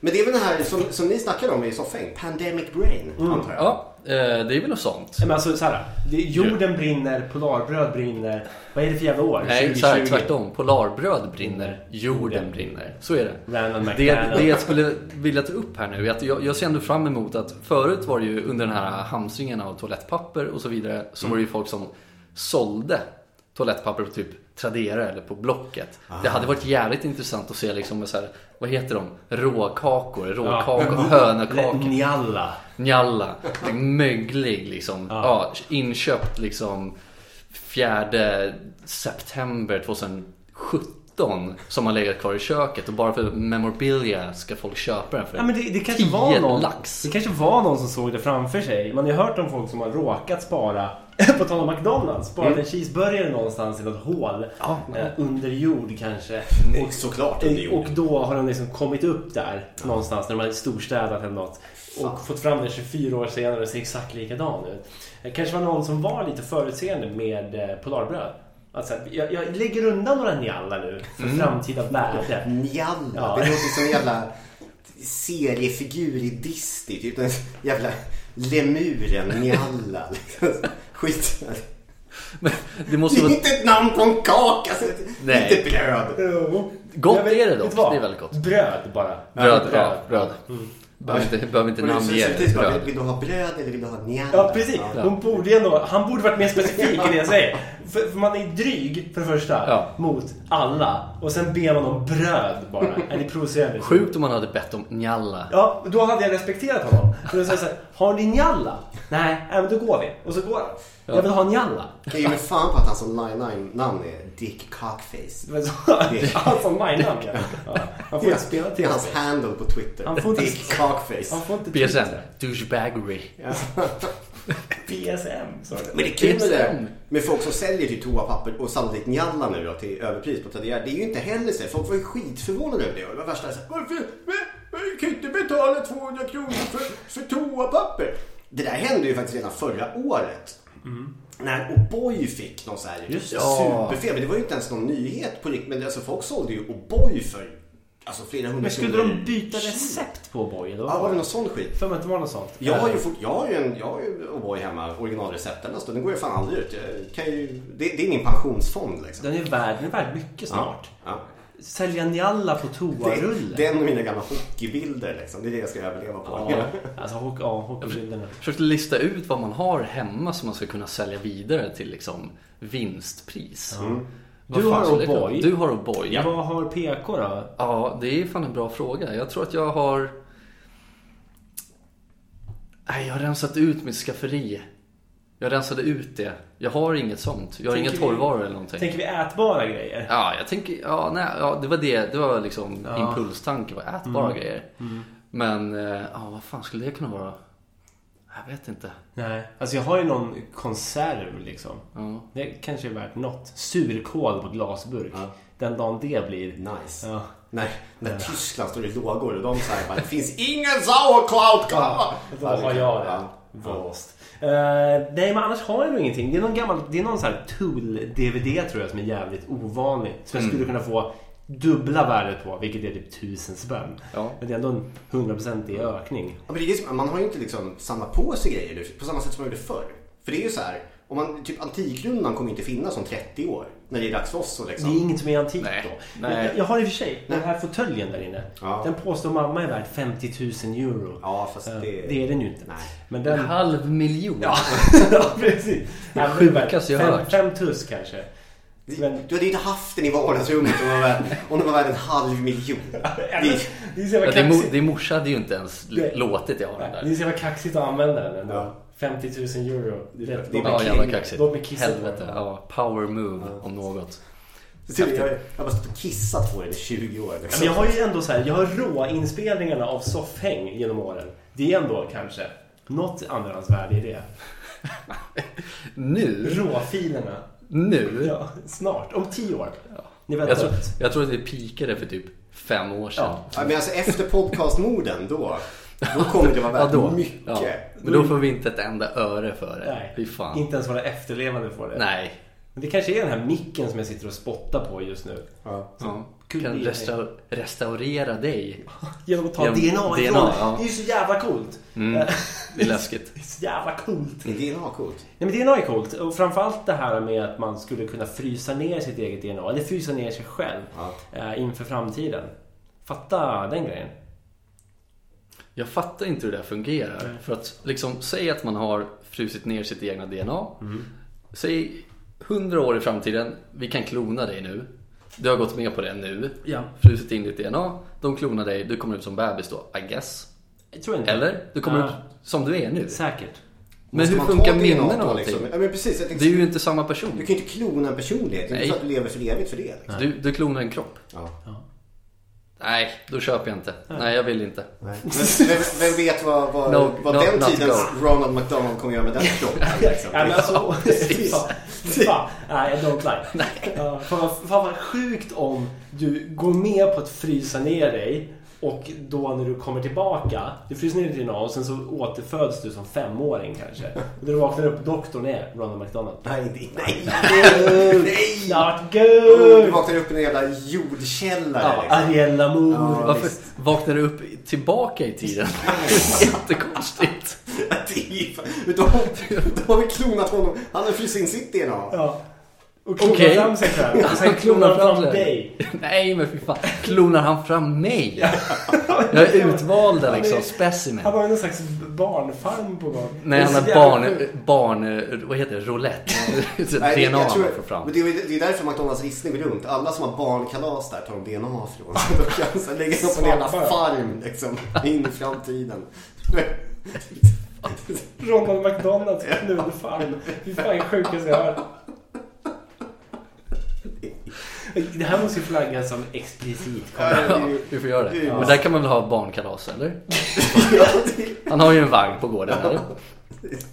S2: Men det är väl det här som, som ni snackade om i Mm. soffhäng, pandemic brain, antar jag.
S3: Ja, eh, det är väl något sånt.
S1: Nej, Men alltså, så här, det, jorden brinner, Polarbröd brinner. Vad är det för jävla år?
S3: Nej, så här, tvärtom. Polarbröd brinner, jorden brinner. Så är det.
S1: Randall
S3: Det,
S1: McDonald.
S3: det jag skulle vilja ta upp här nu är att jag, jag ser ändå fram emot att förut var det ju under den här hamstringen av toalettpapper och så vidare så var det ju folk som sålde toalettpapper på typ Tradera eller på Blocket. Det hade varit jävligt intressant att se liksom med så här, vad heter de? Råkakor, råkakor,
S1: Eller
S3: hönökakor,
S1: Njalla.
S3: njalla, möglig liksom. Ja, inköpt liksom 4 september 2017 som har legat kvar i köket och bara för memorabilia ska folk köpa
S2: typ
S3: den för
S1: Ja, men det, det, kanske
S3: 10
S1: var någon,
S3: lax.
S1: det kanske var någon som såg det framför sig. Man har ju hört om folk som har råkat spara, på tal om McDonalds, sparat
S2: Mm.
S1: en cheeseburgare någonstans i något hål. eh, under jord kanske.
S2: Och såklart under
S1: Eh, Och
S2: jord.
S1: då har de liksom kommit upp där någonstans när de har storstädat eller något. Och fått fram den 24 år senare och ser exakt likadan ut. Det kanske var någon som var lite förutseende med eh, Polarbröd. Alltså, jag, jag lägger undan några njallar nu för
S2: Mm.
S1: framtida värde.
S2: Njalla,
S1: Ja.
S2: det låter som en jävla seriefigur i Disney. Typ den jävla lemuren Njalla. liksom. Skit.
S3: Men det
S2: Det
S3: måste
S2: är
S3: vara...
S2: inte ett namn på en kaka. Alltså,
S3: Nej.
S2: Inte bröd.
S3: Gott
S1: Jag vet-
S3: är det dock.
S1: vet du vad?
S3: Det är väldigt gott.
S1: Bröd bara.
S3: Bröd, ja, bröd.
S1: Mm.
S3: Behöver inte, behöver inte
S2: Och det är så-
S3: namnge
S2: så- så-
S3: bröd.
S2: typ Vill du ha bröd eller vill du ha Njalla?
S1: Ja, precis.
S2: Ja.
S1: Hon borde ju ändå, han borde varit mer specifik i det jag säger. För, för man är dryg, för det första,
S3: Ja.
S1: mot alla. Och sen ber man om bröd bara. Är det provocerande?
S3: Sjukt om man hade bett om njalla.
S1: Ja, då hade jag respekterat honom. För då säger jag så här, har ni njalla? Nej, äh, men då går vi. Och så går han. Jag vill ha njalla.
S2: Jag ger mig fan på att han som line-namn är Dick Cockface.
S1: Det var så- Han som majnamn ja. ja. Han får
S2: Ja,
S1: inte spela
S2: Det
S1: till
S2: är hans
S1: sig.
S2: handle på Twitter.
S1: Han får inte-
S2: Dick Cockface.
S1: Han får inte
S3: BSN.
S1: twittra.
S3: Douchebaggery.
S1: PSM sa du.
S2: Men det är kul med, det,
S3: PSM.
S2: med folk som säljer till toapapper och sannolikt Njalla nu då, till överpris på Tradera. Det är ju inte heller så. här. Folk var ju skitförvånade över det. Och det var värsta så här, varför men, men, kan inte betala 200 kronor för, för toapapper? Det där hände ju faktiskt redan förra året. När O'boy fick någon så här
S1: Mm. Just det.
S2: superfel. Men det var ju inte ens någon nyhet på riktigt. Men alltså, folk sålde ju O'boy för alltså, flera hundra
S1: Men skulle
S2: kronor.
S1: de byta recept på O'boy? eller vad
S2: Ja, var
S1: var
S2: det
S1: det?
S2: någon sån skit?
S1: För mig att det var något sånt.
S2: Jag har ju,
S1: Eller-
S2: fort, jag har ju en jag har ju O'boy hemma, originalrecepten. Alltså, den går ju fan aldrig ut. Jag kan ju, det, det är min pensionsfond liksom.
S1: Den är värd, den är värd mycket snart.
S2: Ja.
S1: Sälja Njalla på
S2: Det,
S1: toarulle.
S2: den och mina gamla hockeybilder liksom. Det är det jag ska överleva på.
S1: Ja, alltså hock- ja, hockeybilderna.
S3: Försökte lista ut vad man har hemma som man ska kunna sälja vidare till liksom vinstpris. Vad
S1: Mm. Du
S3: fan
S1: har
S3: skulle det
S1: O'boy.
S3: vara? Du har O'boy. Ja.
S1: Vad har PK då?
S3: ja, det är fan en bra fråga. Jag tror att jag har... Nej, jag har rensat ut mitt skafferi. Jag rensade ut det. Jag har inget sånt. Jag har
S1: Tänker
S3: inga
S1: vi-
S3: torrvaror eller någonting.
S1: Tänker vi ätbara grejer?
S3: Ja, jag tänker, ja, nej, ja, det var det. Det var liksom impulstanke, var ätbara
S1: Mm.
S3: grejer. Men, eh, ja, vad fan skulle det kunna vara? Jag vet inte.
S1: Nej. Alltså jag har ju någon konserv liksom.
S3: Ja.
S1: Det kanske är värt något. Surkål på glasburk. Den dagen det blir.
S2: Nice.
S1: Ja.
S2: När, när Tyskland står i lågor och de säger bara det finns ingen sauerkraut kvar.
S1: Då har jag det.
S2: Ja.
S1: Vast. Eh, nej men annars har jag nog ingenting. Det är någon gammal, det är någon sån här Tool-DVD tror jag som är jävligt ovanlig. Som
S2: Mm.
S1: jag skulle kunna få dubbla värdet på, vilket är typ tusen spänn.
S3: Ja.
S1: Men det är ändå en hundraprocentig ökning.
S2: Ja, men det är ju som- man har ju inte liksom samlat på sig grejer nu, på samma sätt som man gjorde förr. För det är ju så här, om man, typ Antikrundan kommer inte finnas om 30 år. När det är dags för oss och
S1: Det
S2: liksom.
S1: är inget som är antikt
S3: Nej.
S1: då.
S3: Nej.
S1: Jag, jag har i och för sig den här fåtöljen där inne.
S2: Ja.
S1: Den påstår mamma är värd 50 000 euro.
S2: Ja, fast
S1: Eh,
S2: det-
S1: det är den ju inte.
S2: Nej.
S1: Men
S3: En
S1: den...
S3: halv miljon?
S1: Ja, ja precis. Nej, men
S3: Sjukaste
S1: väl,
S3: jag
S1: fem,
S3: hört.
S1: Fem tuss kanske. Men,
S2: Du hade ju inte haft den i vardagsrummet om den var värd, om den var värd en halv miljon.
S1: det,
S2: Det,
S1: det är så jävla
S3: Ja, det, mo-
S1: kaxigt.
S3: det morsa hade ju inte ens l-
S1: Nej.
S3: låtit jag ha den
S1: Det är
S3: där.
S1: så jävla kaxigt att använda den ändå.
S2: Ja.
S1: 50 000 euro.
S2: Det är-
S1: Rätt-
S2: det är-
S3: Ja,
S2: med
S3: jävla
S2: king-
S3: kaxigt.
S1: låt mig kissa på
S3: Helvete.
S1: den.
S3: Ja, power move om något.
S2: jag, jag har bara stått och kissat på den i 20 år.
S1: Ja,
S2: Liksom.
S1: men jag har ju ändå så här, jag har råinspelningarna av soffhäng genom åren. Det är ändå kanske något andrahandsvärde i det.
S3: Nu,
S1: Råfilerna.
S3: nu.
S1: Ja, snart. Om tio år. Ni
S3: Jag,
S1: väntar.
S3: tror, jag tror att det peakade för typ fem år sedan.
S1: Ja.
S2: Ja, men alltså efter podcastmorden då, då kommer det vara värt
S3: då?
S2: mycket.
S3: Ja. Men då får vi inte ett enda öre för det.
S1: Nej,
S3: Fy fan.
S1: inte ens våra efterlevande får det.
S3: Nej.
S1: Men det kanske är den här micken som jag sitter och spottar på just nu.
S2: Ja.
S3: Ja.
S1: kul
S3: Kan
S1: idé.
S3: resta restaurera dig.
S1: Genom att ta
S3: Genom
S1: DNA ifrån.
S3: DNA, ja. Mm.
S1: Det är ju så jävla coolt.
S3: Det är läskigt.
S1: Det är så jävla coolt.
S2: Men DNA är coolt.
S1: Nej men DNA är coolt. Och framförallt det här med att man skulle kunna frysa ner sitt eget DNA. Eller frysa ner sig själv. eh, Inför framtiden. Fatta den grejen.
S3: Jag fattar inte hur det här fungerar. För att liksom, säg att man har frusit ner sitt egna DNA.
S2: Mm.
S3: Säg 100 år i framtiden, vi kan klona dig nu. Du har gått med på det nu.
S1: Ja.
S3: Frusit in ditt DNA, de klonar dig, du kommer ut som bebis då, I guess.
S1: Jag tror inte.
S3: Eller? Du kommer
S1: Ja.
S3: ut som du är nu.
S1: Säkert.
S3: Men
S2: Ska
S3: hur
S2: man ta
S3: funkar
S2: DNA
S3: minnen
S2: då,
S3: och allting?
S2: liksom? Ja, men precis, jag
S3: Det
S2: tänkte,
S3: är ju inte samma person.
S2: Du kan ju inte klona en personlighet. Det är inte
S3: Nej.
S2: så att du lever för evigt för det. Liksom.
S3: Du, du klonar en kropp.
S2: Ja.
S3: Nej, då köper jag inte. Nej, jag vill inte.
S2: Nej. Men Vem, vem vet vad, vad,
S3: No,
S2: vad
S3: no,
S2: den
S3: not
S2: tidens Ronald McDonald kommer göra med den kroppen? Liksom.
S1: Ja, men alltså, fy
S3: precis.
S1: fan. Fy fan. Nej, I don't like. Ja, Fan vad- fan vad sjukt om du går med på att frysa ner dig och då när du kommer tillbaka, du fryser ner dig till och sen så återföds du som femåring kanske. Och när du vaknar upp, doktorn är Ronald McDonald.
S2: Nej, nej, nej.
S1: Nej! Oh, Not
S2: Du
S1: good!
S2: vaknar upp i en jävla jordkällare.
S1: Ja,
S2: liksom.
S1: Ariel Lamour.
S3: Varför vaknar du upp tillbaka i tiden? Jättekonstigt.
S2: Det är ju fan- Då, då har vi klonat honom. Han har fryst in sitt DNA.
S1: Ja. Och klonar
S3: Okej.
S1: fram sig själv. Och sen klonar han fram dig.
S3: Nej men fy fan. Klonar han fram mig? Jag är utvalda liksom.
S1: Han
S3: Specimen.
S1: har ju någon slags barnfarm på gång.
S3: Nej
S1: Det
S3: han
S1: så
S3: har
S1: jävla
S3: barn,
S1: sjukt.
S3: barn... Vad heter det? Roulette? Så
S2: Nej,
S3: DNA
S2: jag tror-
S3: han får fram.
S2: Men det är ju- det är därför McDonalds ristning går runt. Alla som har barnkalas där tar de DNA från. Så de kan så här lägga dem på en jävla
S1: Svampar.
S2: farm liksom, in i framtiden.
S1: Ronald McDonalds knullfarm. Fy fan, det sjukaste jag hört. Det här måste ju flaggas som explicit.
S2: Ja, det är
S3: Ja,
S2: ju-
S3: vi får göra det.
S2: Ja.
S3: Men där kan man väl ha barnkalas eller?
S2: ja, det är-
S3: Han har ju en vagn på gården eller?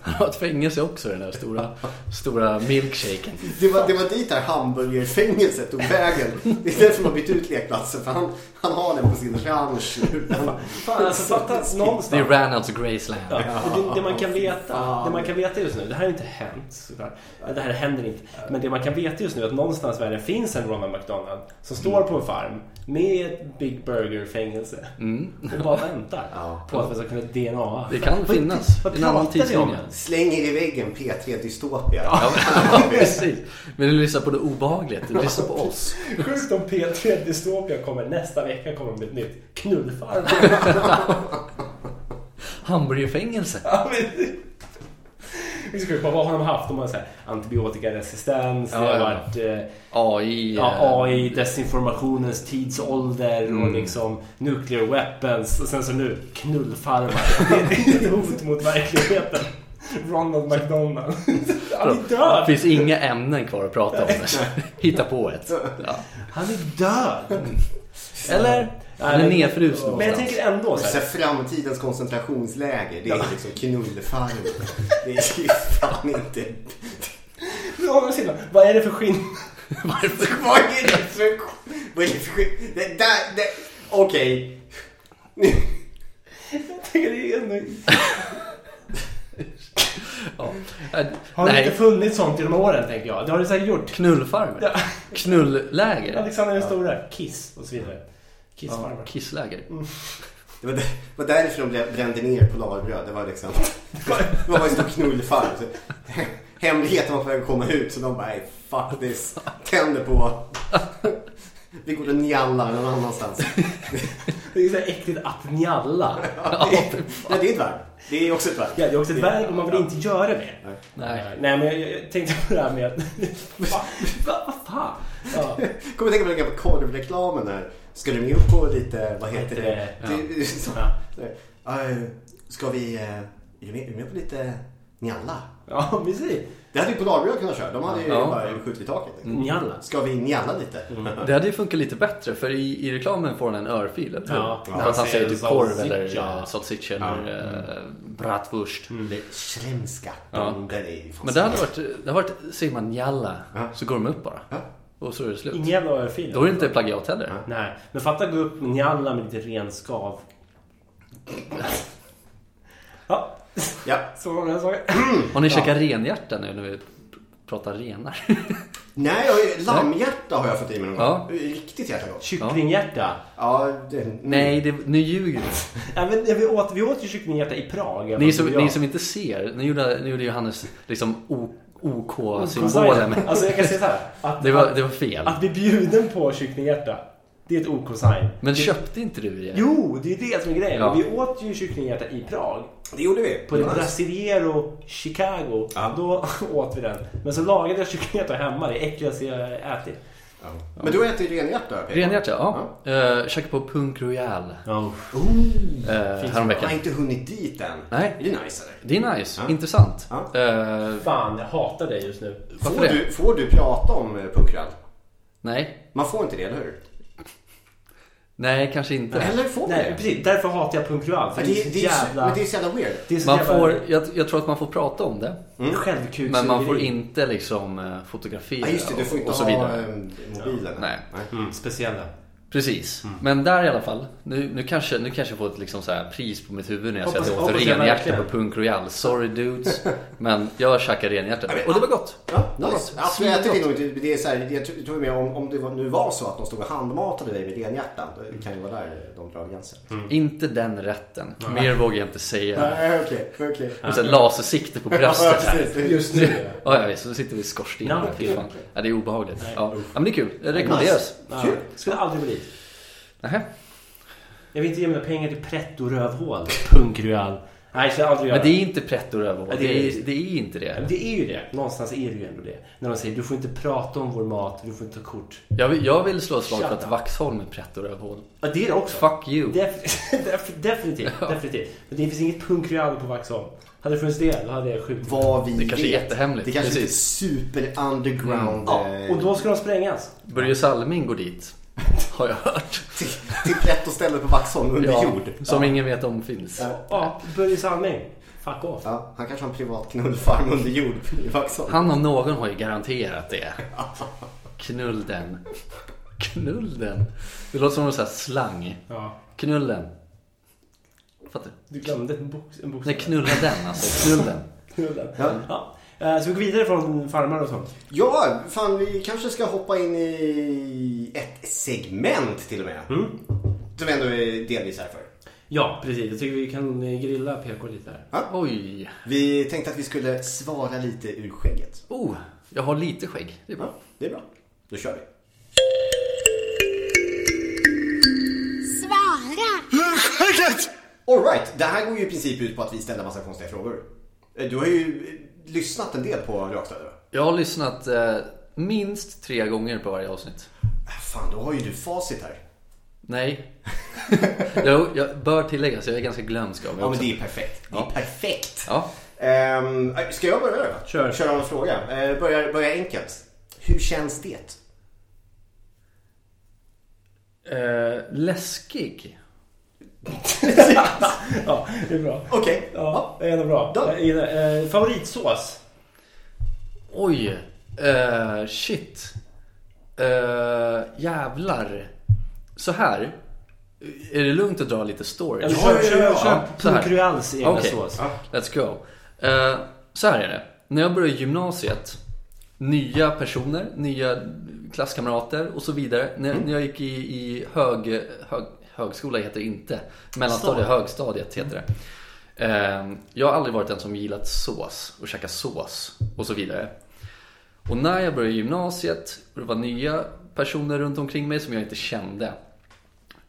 S3: Han har ett fängelse också, den där stora, stora milkshaken.
S2: Det var, det var dit där hamburgerfängelset tog vägen. Det är därför man bytt ut lekplatsen. För han, han har den på sin ranch nu. Han,
S1: Fan, alltså fatta att
S3: Det är
S1: någonstans.
S3: Ranalds Graceland.
S1: Ja, det, det, man kan veta,
S2: fan.
S1: det man kan veta just nu, det här har inte hänt såklart. Det här händer inte. Men det man kan veta just nu är att någonstans i världen finns en Ronald McDonald som
S3: Mm.
S1: står på en farm med ett Big Burger-fängelse och bara väntar
S2: Ja.
S1: på att vi ska kunna DNA.
S3: Mm. Det kan finnas.
S1: Vad
S3: i en annan
S1: pratar vi om?
S3: tidslinje.
S2: Slänger i väggen P3 Dystopia.
S3: Ja, men- precis. Men du lyssnar på det obehagligt. Du lyssnar på oss.
S1: Sjukt om P3 Dystopia kommer nästa vecka kommer med ett nytt knullfarm.
S3: Hamburgerfängelse.
S1: Ja, men- Det är så sjukt. Vad har de haft? De har så här, antibiotikaresistens, det
S3: Ja,
S1: har
S3: ja.
S1: varit eh,
S3: AI.
S1: Ja,
S3: eh,
S1: AI, desinformationens tidsålder
S3: Mm.
S1: och liksom nuclear weapons. Och sen så nu knullfarmar. Det är ett hot mot verkligheten. Ronald McDonald. Han är
S3: Det
S1: död!
S3: finns inga ämnen kvar att prata om. Hitta på ett. Ja.
S1: Han är död!
S3: Eller? Mm. Han är
S1: men-
S3: nedfrusen
S1: Men jag
S3: någonstans.
S1: tänker ändå så
S2: Så
S1: här.
S2: här, framtidens koncentrationsläger, det
S1: Ja.
S2: är liksom knullfarm. Det är ju fan inte...
S1: Å andra sidan, vad är det för skillnad?
S3: Varför?
S2: Vad är det för... Vad är det för... Det där... Det... Okej.
S1: Jag tänker, det är ändå-
S3: Ja. Eh,
S1: Har det inte
S3: Nej,
S1: funnits sånt genom åren, tänker jag. Det har det säkert gjort.
S3: knullfarmer.
S1: Ja.
S3: Knullläger.
S1: Alexander den stora, Kiss och så vidare. Kissfarmar.
S3: Kissläger.
S1: Mm.
S2: Det var, det var därför de brä- brände ner Polarbröd. Det var liksom... Det var ju som knullfarm. Så... Hemligheten var på väg att komma ut så de bara "Hey, fuck this. Tänder på. Vi går och njallar någon annanstans.
S1: Det är så här äckligt att njalla.
S2: Nej, det är ett varv. Det är också ett varv.
S1: Ja, det är också ett värv och man vill
S2: Ja.
S1: inte göra det.
S3: Nej.
S1: Nej, men jag, jag tänkte på det här med att... Vad va, vad fan? Ja.
S2: Kommer tänka på den gamla korvreklamen där. Ska du med upp på lite, vad heter
S1: Heter
S2: det?
S1: det?
S2: det så,
S1: Ja.
S2: ja. eh, Ska vi, eh, är du med, är du med på lite njalla?
S1: ja, precis.
S2: Det hade ju Polarbröd kunnat köra. De hade ju
S3: Ja. Mm.
S2: bara skjutit i taket.
S1: Njalla.
S2: Ska vi njalla lite?
S3: Det hade ju funkat lite bättre för i, i reklamen får han en örfil, eller hur?
S1: Ja.
S3: För att han säger typ korv eller
S1: salsiccia.
S3: salsiccia eller eh,
S1: Mm.
S3: bratwurst.
S2: Schlemska.
S3: Ja.
S2: De, den Mm, är ju fan
S3: Men det hade varit, det hade varit säger man njalla, så går de upp bara.
S2: Ja.
S3: Och så är det slut.
S1: Ingen jävla örfil.
S3: Då är det inte plagiat heller.
S1: Nej, men fatta gå upp med njalla med lite ren skav. Ja,
S2: Ja.
S1: så var den saken.
S3: Har ni käkat renhjärta nu när vi pr- pratar renar?
S2: Nej, jag har ju- lammhjärta har jag fått i mig någon
S3: Ja.
S2: gång. Riktigt jäkla gott.
S1: Kycklinghjärta.
S2: Ja, det, mm.
S3: Nej, det, nu ljuger ni.
S1: Ja, men vi, åt, vi åt ju kycklinghjärta i Prag. även
S3: Ni
S2: Alltså,
S3: som,
S1: du och jag.
S3: ni som inte ser, nu gjorde, nu gjorde Johannes liksom O-
S2: Oh,
S3: OK-symbolen.
S1: Cosign. Alltså jag kan säga så här. Att,
S3: Det var, det var fel.
S1: att bli bjuden på kycklinghjärta, det är ett OK-sign.
S3: Men köpte inte du det?
S1: Jo, det är det som är grejen.
S3: Ja.
S1: Vi åt ju kycklinghjärta i Prag.
S2: det gjorde vi.
S1: På
S2: Det
S1: det
S2: var nice.
S1: Brasiliero Chicago.
S2: Ja.
S1: Då åt vi den. Men så lagade jag kycklinghjärta hemma. Det är äckligaste jag ätit.
S2: Ja. Men du har ätit renhjärta? Peter.
S3: Renhjärta, ja. ja. käkade på Punk Royal
S1: Oh.
S3: uh,
S2: Jag har
S3: häromveckan.
S2: inte hunnit dit än.
S3: Nej.
S2: Det är nice. eller?
S3: Det är nice,
S2: Ja.
S3: intressant.
S2: Ja.
S3: Eh,
S1: Fan, jag hatar dig just nu.
S3: varför
S2: Får
S3: det?
S2: du, får du prata om eh, puckrall?
S3: Nej.
S2: Man får inte det, eller hur?
S3: Nej, kanske inte.
S2: Eller får man
S1: Nej,
S2: det?
S1: precis. Därför hatar jag Punk Royal. För
S2: Men
S1: det är
S2: det,
S1: så
S2: det, är, så-
S1: jävla...
S2: men det är så Mm. jävla weird.
S1: det är så
S3: Man
S1: jävla
S3: får, jag, jag tror att man får prata om det.
S1: självkuksugeri.
S3: Men man får inte liksom eh, fotografera
S2: Ja, just det. Du får
S3: och-
S2: inte
S3: och så
S2: ha
S3: vidare.
S2: eh, mobilen.
S3: Nej.
S1: Mm, speciella.
S3: Precis. Men där i alla fall. Nu, nu, kanske, nu kanske jag får ett liksom så här pris på mitt huvud när jag säger att jag åt
S1: Hoppas- hoppas jag
S3: renhjärta på
S1: verkligen.
S3: Punk Royal. Sorry dudes. Men jag käkade renhjärta. Och det var gott.
S2: Ja, nice.
S3: Gott.
S2: Ja, för jag äter det nog inte. Det är så här, jag tror- jag tror med om, om det var, nu var så att de stod och handmatade dig med renhjärtan. Det kan ju vara där eh, de drar gränsen.
S3: Inte den rätten. Mer vågar jag inte säga.
S2: Nej, eh, okej. okej.
S3: Och så här lasersikte på
S2: Ja,
S3: bröstet. här.
S2: precis. Det är
S1: Just nu.
S3: Ja, ja, visst. Så sitter vi i skorstenen.
S1: Nej,
S3: Fy fan. Ja, det är obehagligt. Ja. ja, men det är kul. Det rekommenderas.
S1: Ja.
S2: Kul.
S1: Skulle aldrig gå dit.
S3: Nähä.
S1: Jag vill inte ge mina pengar till pretto-rövhål. Punk Royal. Nej, jag skulle aldrig göra.
S3: Men det är inte pretto överhåll.
S1: Ja,
S3: Det
S1: det är
S3: är,
S1: det.
S3: det är inte det.
S1: Men det är ju det. Någonstans är det ju ändå det. När de säger du får inte prata om vår mat, du får inte ta kort.
S3: Jag vill, jag vill slå ett slag för
S1: Shut
S3: att
S1: up.
S3: Vaxholm är pretto överhåll.
S1: Ja, det är det också.
S3: Fuck you.
S1: Def- def- definitivt, definitivt. Men det finns inget punkreal på Vaxholm. Hade det funnits det, då hade jag skjutit.
S2: Vad vi
S3: Det kanske är
S2: vet.
S3: jättehemligt.
S2: Det kanske
S3: Precis. Mm.
S2: är typ super underground.
S1: Ja,
S2: eh,
S1: och då ska de sprängas.
S3: Börje Salming går dit. Har jag hört.
S2: till, till prätt och ställe på Vaxholm under jord.
S3: Som ingen vet om finns.
S1: Ja, Börje Salming. Fuck off.
S2: Ja, han kanske har en privat knullfarm under jord i Vaxholm.
S3: Han om någon har ju garanterat det. Knull den. Knull den. Det låter som en sån här slang.
S1: Ja.
S3: Knull den. Fattar du?
S1: Du glömde en bok- en bokstav.
S3: Nej, knulla den alltså. Knull den.
S1: Ja. Ja. Eh, Så vi går vidare från farmar och sånt.
S2: Ja, fan vi kanske ska hoppa in i ett segment till och med. Som ändå är delvis härför.
S1: Ja, precis. Jag tycker vi kan eh, grilla PK lite här.
S3: Oj.
S2: Vi tänkte att vi skulle svara lite ur skägget.
S3: Oh, jag har lite skägg. Det är bra.
S2: Ja, det är bra. Då kör vi.
S4: Svara!
S2: Alright, det här går ju i princip ut på att vi ställer massa konstiga frågor. Eh, Du har ju eh, lyssnat en del på Rökstöd va?
S3: Jag har lyssnat eh, minst tre gånger på varje avsnitt.
S2: Ah, Fan, då har ju du facit här.
S3: Nej. jag, jag bör tillägga så jag är ganska glömsk av mig
S2: Ja, men
S3: också.
S2: det är perfekt. Det är
S3: Ja.
S2: perfekt.
S3: Ja.
S2: Ehm, ska jag börja då?
S1: Kör.
S2: Köra en fråga. Eh, börja, börja enkelt. Hur känns det?
S3: Eh, läskig.
S1: Ja, det är bra.
S2: Okej.
S1: Ja, det är ändå bra.
S2: Då.
S1: Jag gillar det. Eh, favoritsås?
S3: Oj. Eh, shit. Eh, jävlar. Så här. Är det lugnt att dra lite stories?
S1: Eller kör,
S2: Ja, ja,
S1: kör,
S2: ja,
S1: kör
S2: ja.
S3: Så här.
S1: Pokruans egna
S3: Okej.
S1: sås.
S3: Let's go. Eh, så här är det. När jag började gymnasiet, nya personer, nya klasskamrater och så vidare. När, när jag gick i, i hög, hög, högskola heter det inte. Mellanstadiet, högstadiet heter det. Eh, jag har aldrig varit den som gillat sås och käkat sås och så vidare. Och när jag började gymnasiet, och det var nya personer runt omkring mig som jag inte kände.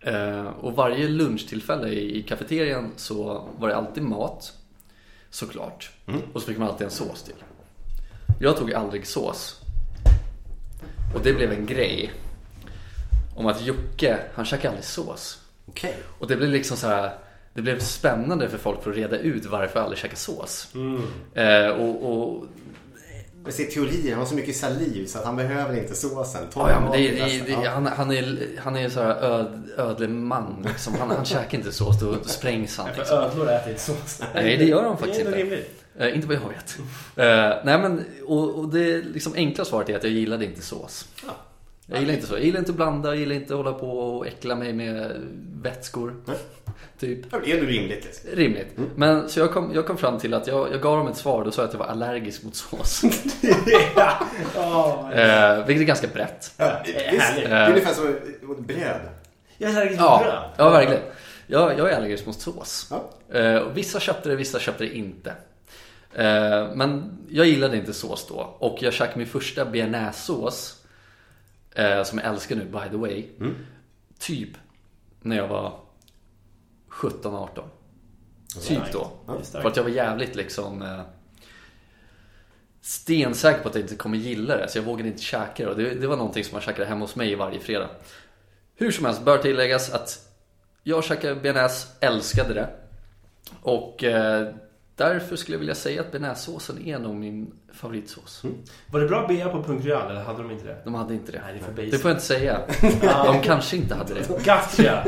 S3: Eh, och varje lunchtillfälle i, i kafeterian så var det alltid mat, såklart. Och så fick man alltid en sås till. Jag tog aldrig sås. Och det blev en grej. Om att Jocke, han käkade aldrig sås.
S2: Okej.
S3: Och det blev liksom så här. Det blev spännande för folk för att reda ut varför jag aldrig käkar sås. Eh, och, och
S2: Jag ser teorier. Han har så mycket saliv så att han behöver inte såsen. Ta
S3: Ja, ja, men
S2: mat
S3: det
S2: i
S3: är, det
S2: resten.
S3: är,
S2: Ja.
S3: han, han är, han är så här öd, ödleman liksom. Han, han käkar inte sås, då, då sprängs han
S1: För
S3: liksom.
S1: ödlor äter inte sås.
S3: Nej, det gör de faktiskt
S1: Det är ändå
S3: inte.
S1: rimligt.
S3: Eh, inte vad jag vet. Eh, nej, men och, och det liksom enkla svaret är att jag gillade inte sås.
S2: Ja.
S3: Jag gillar inte så. Jag gillar inte att blanda, jag gillar inte att hålla på och äckla mig med vätskor.
S2: Nej.
S3: Typ.
S2: Ja, men Det är ändå rimligt. Liksom.
S3: Rimligt. Men så jag kom, jag kom fram till att jag, jag gav dem ett svar, då sa jag att jag var allergisk mot sås.
S1: Ja.
S3: Eh, vilket är ganska brett.
S2: Ja, det, är,
S1: härligt.
S2: det är ungefär som eh, bröd.
S1: Jag är allergisk mot bröd.
S3: Ja, ja verkligen. Jag, jag är allergisk mot sås.
S2: Ja.
S3: Eh, och vissa köpte det, vissa köpte det inte. Eh, men jag gillade inte sås då. Och jag käkade min första bearnaisesås, eh, som jag älskar nu by the way, typ när jag var 17-18. Typ då.
S1: Det är starkt.
S3: För att jag var jävligt liksom eh, stensäker på att jag inte kommer gilla det, så jag vågade inte käka det. Och det, det var någonting som jag käkade hemma hos mig varje fredag. Hur som helst bör tilläggas att jag käkade bearnaise, älskade det. Och eh, därför skulle jag vilja säga att bearnaisesåsen är nog min favoritsås.
S1: Var det bra bea på punkreal eller hade de inte det?
S3: De hade inte det.
S1: Nej, det är för
S3: Det
S1: basic. Ah,
S3: får jag inte säga. De kanske inte hade det.
S1: Gotcha!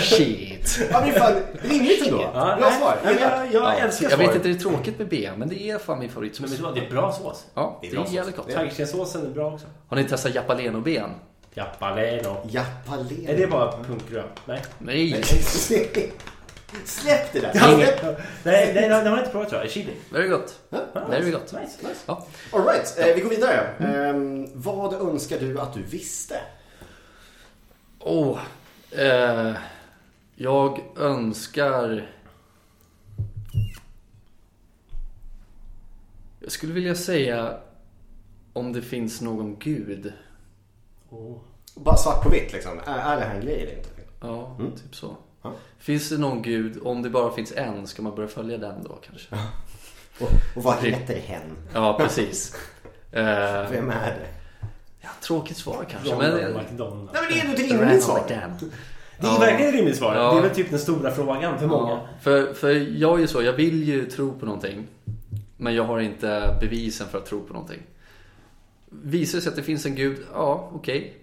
S3: Shit.
S2: Ja, men fan, rimligt ändå.
S1: Ja,
S2: Bra
S1: nej,
S2: svar.
S1: nej, men
S2: Gillar.
S1: jag, jag älskar
S3: Jag vet
S1: svaret.
S3: inte, det är tråkigt med bea, men det är fan min
S1: Men vet
S3: favoritsås.
S1: du vad? Det är bra sås.
S3: Ja, det
S2: Det är bra
S3: är jävligt gott.
S1: Taggtrådssåsen är bra också.
S3: Har ni testat japaleno-ben?
S1: Japaleno.
S2: Japaleno.
S1: Är det bara punkgrön? Nej.
S3: Nej,
S2: Släpp det där.
S3: Inget.
S2: Släpp.
S1: Nej, nej, det har jag inte provat tror jag. Chili.
S3: very gott.
S2: Ja.
S3: Very gott.
S1: Nice, nice.
S3: Ja.
S2: All right, eh, vi går vidare. Ehm, vad önskar du att du visste?
S3: Åh, eh, jag önskar... Jag skulle vilja säga om det finns någon gud.
S2: Bara svart på vitt liksom. Är, är det här en grej eller inte?
S3: Ja, typ så.
S2: Mm. Ja.
S3: Finns det någon gud? Om det bara finns en, ska man börja följa den då kanske?
S2: Och, och vad
S3: Rim.
S2: heter hen?
S3: Ja, precis. Eh,
S2: Vem är det?
S3: ja, tråkigt svar kanske,
S1: Ronald
S3: men...
S1: McDonald.
S2: Nej men det är ändå ett rimligt svar.
S1: Det är verkligen ett rimligt svar.
S3: Ja.
S1: Det är väl typ den stora frågan för många.
S3: Ja, för, för jag är ju så, jag vill ju tro på någonting. Men jag har inte bevisen för att tro på någonting. Visar det sig att det finns en gud, ja okej.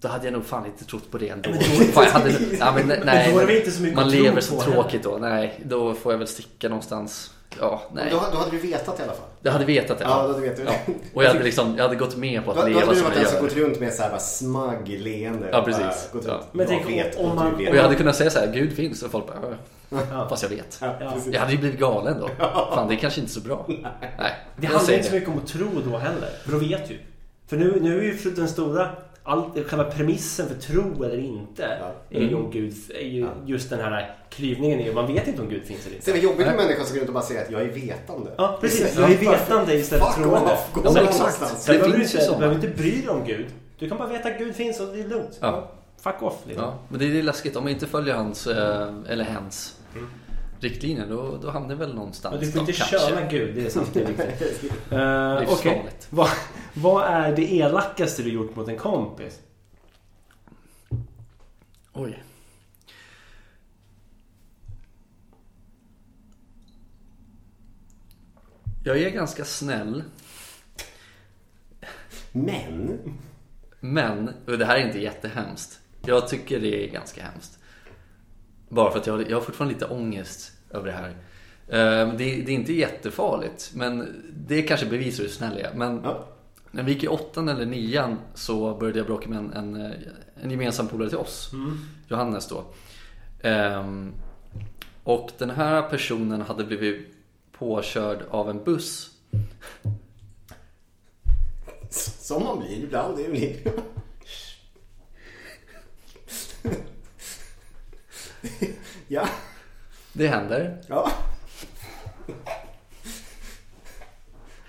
S3: Då hade jag nog fan inte trott på det ändå.
S1: Men då-
S3: Fan, jag hade, ja, men, nej,
S1: Men då är det inte så mycket
S3: man
S1: att tro
S3: lever
S1: på
S3: så
S1: heller.
S3: tråkigt då. Nej, då får jag väl sticka någonstans. Ja, nej.
S2: Då, då hade du vetat i alla fall.
S3: Jag hade vetat det.
S2: Ja, då hade du vetat.
S3: Och jag hade, liksom, jag hade gått med på
S2: Då, då
S3: att
S2: hade
S3: leva
S2: du
S3: som
S2: varit
S3: jag
S2: den som
S3: gör.
S2: gått runt med så här bara smagg leende.
S3: Ja, precis.
S2: Bara, gått
S3: Ja.
S2: runt.
S1: Men
S2: Jag
S1: tänk om-
S2: vet
S1: om
S2: att
S1: man-
S2: du
S1: om
S3: Och jag
S2: vet.
S3: hade kunnat säga så här, Gud finns. Och folk bara, ja. fast jag vet.
S2: Ja, precis.
S3: Jag hade ju blivit galen då. Fan, det är kanske inte så bra. Nej,
S1: Det
S3: jag
S1: handlar
S3: säger
S1: inte så mycket om att tro då heller. För då vet du. För nu, nu är ju för den stora... All, själva premissen för tro eller inte
S2: Ja.
S1: är
S3: Mm.
S1: ju om Gud... Är ju Just den här klyvningen är ju... Man vet inte om Gud finns eller inte.
S2: Så det är jobbigt med människor som går runt och bara säger att jag är vetande.
S1: Ja, precis. Jag är vetande istället för
S2: Fuck
S1: troende.
S2: off, gå
S1: Ja, men
S2: någon
S1: exakt.
S2: annanstans.
S1: Sen
S3: Det
S1: behöver du
S3: finns ju
S1: inte-
S3: sådana.
S1: behöver inte bry dig om Gud. Du kan bara veta att Gud finns och det är lugnt.
S3: Ja.
S1: Fuck off. Liksom.
S3: Ja, men det är ju läskigt. Om man inte följer hans, eh, eller hens, riktlinjer då, då hamnar vi väl någonstans.
S1: Men Mm. du får
S3: då,
S1: inte
S3: kanske.
S1: köra Gud, det är samtidigt viktigt. uh, Okej,
S3: Livsfarligt.
S1: vad, vad är det elakaste du gjort mot en kompis?
S3: Oj. Jag är ganska snäll,
S2: Men,
S3: men, och det här är inte jättehemskt. Jag tycker det är ganska hemskt. Bara för att jag, jag har fortfarande lite ångest över det här. Eh, Det, det är inte jättefarligt, men det kanske bevisar hur snäll jag är. Men
S2: ja.
S3: När vi gick i åttan eller nian så började jag bråka med en, en, eh, en gemensam polare till oss. Johannes då. Ehm, och den här personen hade blivit påkörd av en buss.
S2: som man blir ibland. Det är väl Ja,
S3: Det händer.
S2: ja.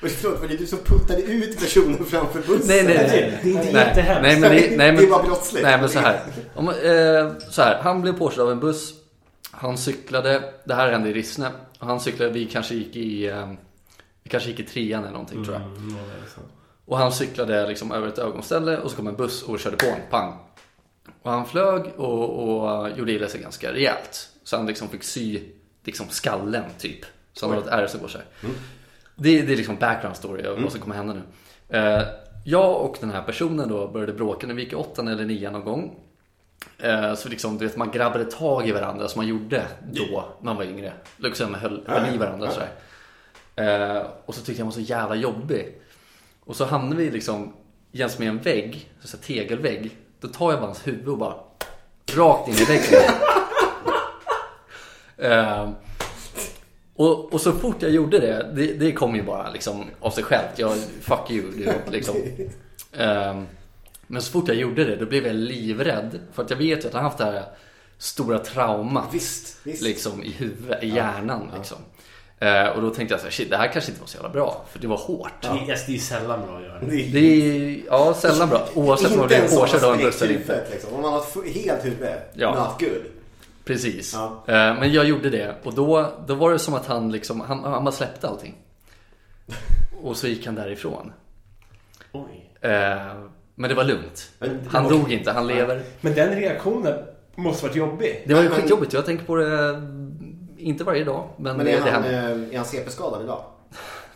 S2: Och förlåt, var det du som puttade ut personen framför bussen?
S3: Nej, nej, nej.
S1: Det är inte
S3: nej,
S1: jättehemskt.
S3: nej, men det, nej, men,
S2: Det är bara brottsligt.
S3: Nej, men så här. Om, eh, så här. Han blev påkörd av en buss. Han cyklade. Det här hände i Rissne. Han cyklade. Vi kanske gick i, eh, vi kanske gick i trean eller någonting tror jag.
S1: Mm,
S3: Och han cyklade liksom över ett ögonställe och så kom en buss och körde på honom. Pang! Och han flög och, och gjorde illa sig ganska rejält. Så han liksom fick sy liksom skallen typ. Så han har ett ärr som går så här. Det, det är liksom background story av vad som kommer hända nu. Eh, jag och den här personen då började bråka när vi gick i åttan eller nian någon gång. Eh, så liksom, du vet, man grabbade tag i varandra som man gjorde då när man var yngre. Liksom höll, höll i varandra sådär. Eh, och så tyckte jag hon var så jävla jobbig. Och så hamnade vi liksom jäms med en vägg, så här tegelvägg. Då tar jag bara hans huvud och bara rakt in i väggen. Eh, och, och så fort jag gjorde det, det, det kom ju bara liksom av sig självt. Jag, fuck you, du vet, liksom. Ehm, men så fort jag gjorde det, då blev jag livrädd. För att jag vet ju att han haft det här stora traumat
S2: Visst, visst.
S3: Liksom, i huvudet, i hjärnan. Liksom. Eh, och då tänkte jag så här, shit, det här kanske inte var så jävla bra. För det var hårt.
S1: Det, är- det är sällan bra att göra. det.
S3: Det är ja, sällan bra. Oavsett om man blir påkörd av en buss eller inte.
S2: huvudet liksom. Om man har ett fu- helt huvud,
S3: Ja.
S2: not good.
S3: Precis.
S2: Ja.
S3: Eh, Men jag gjorde det och då, då var det som att han liksom, han, han bara släppte allting. Och så gick han därifrån.
S1: Oj.
S3: Eh, Men det var lugnt.
S2: Men-
S3: Han dog inte, han lever.
S1: Men den reaktionen måste varit jobbig.
S3: Det var ju
S2: Men-
S3: skitjobbigt, jag tänker på det, eh, inte varje dag. Men,
S2: Men
S3: det
S2: är han,
S3: händer.
S2: eh, är han CP-skadad idag?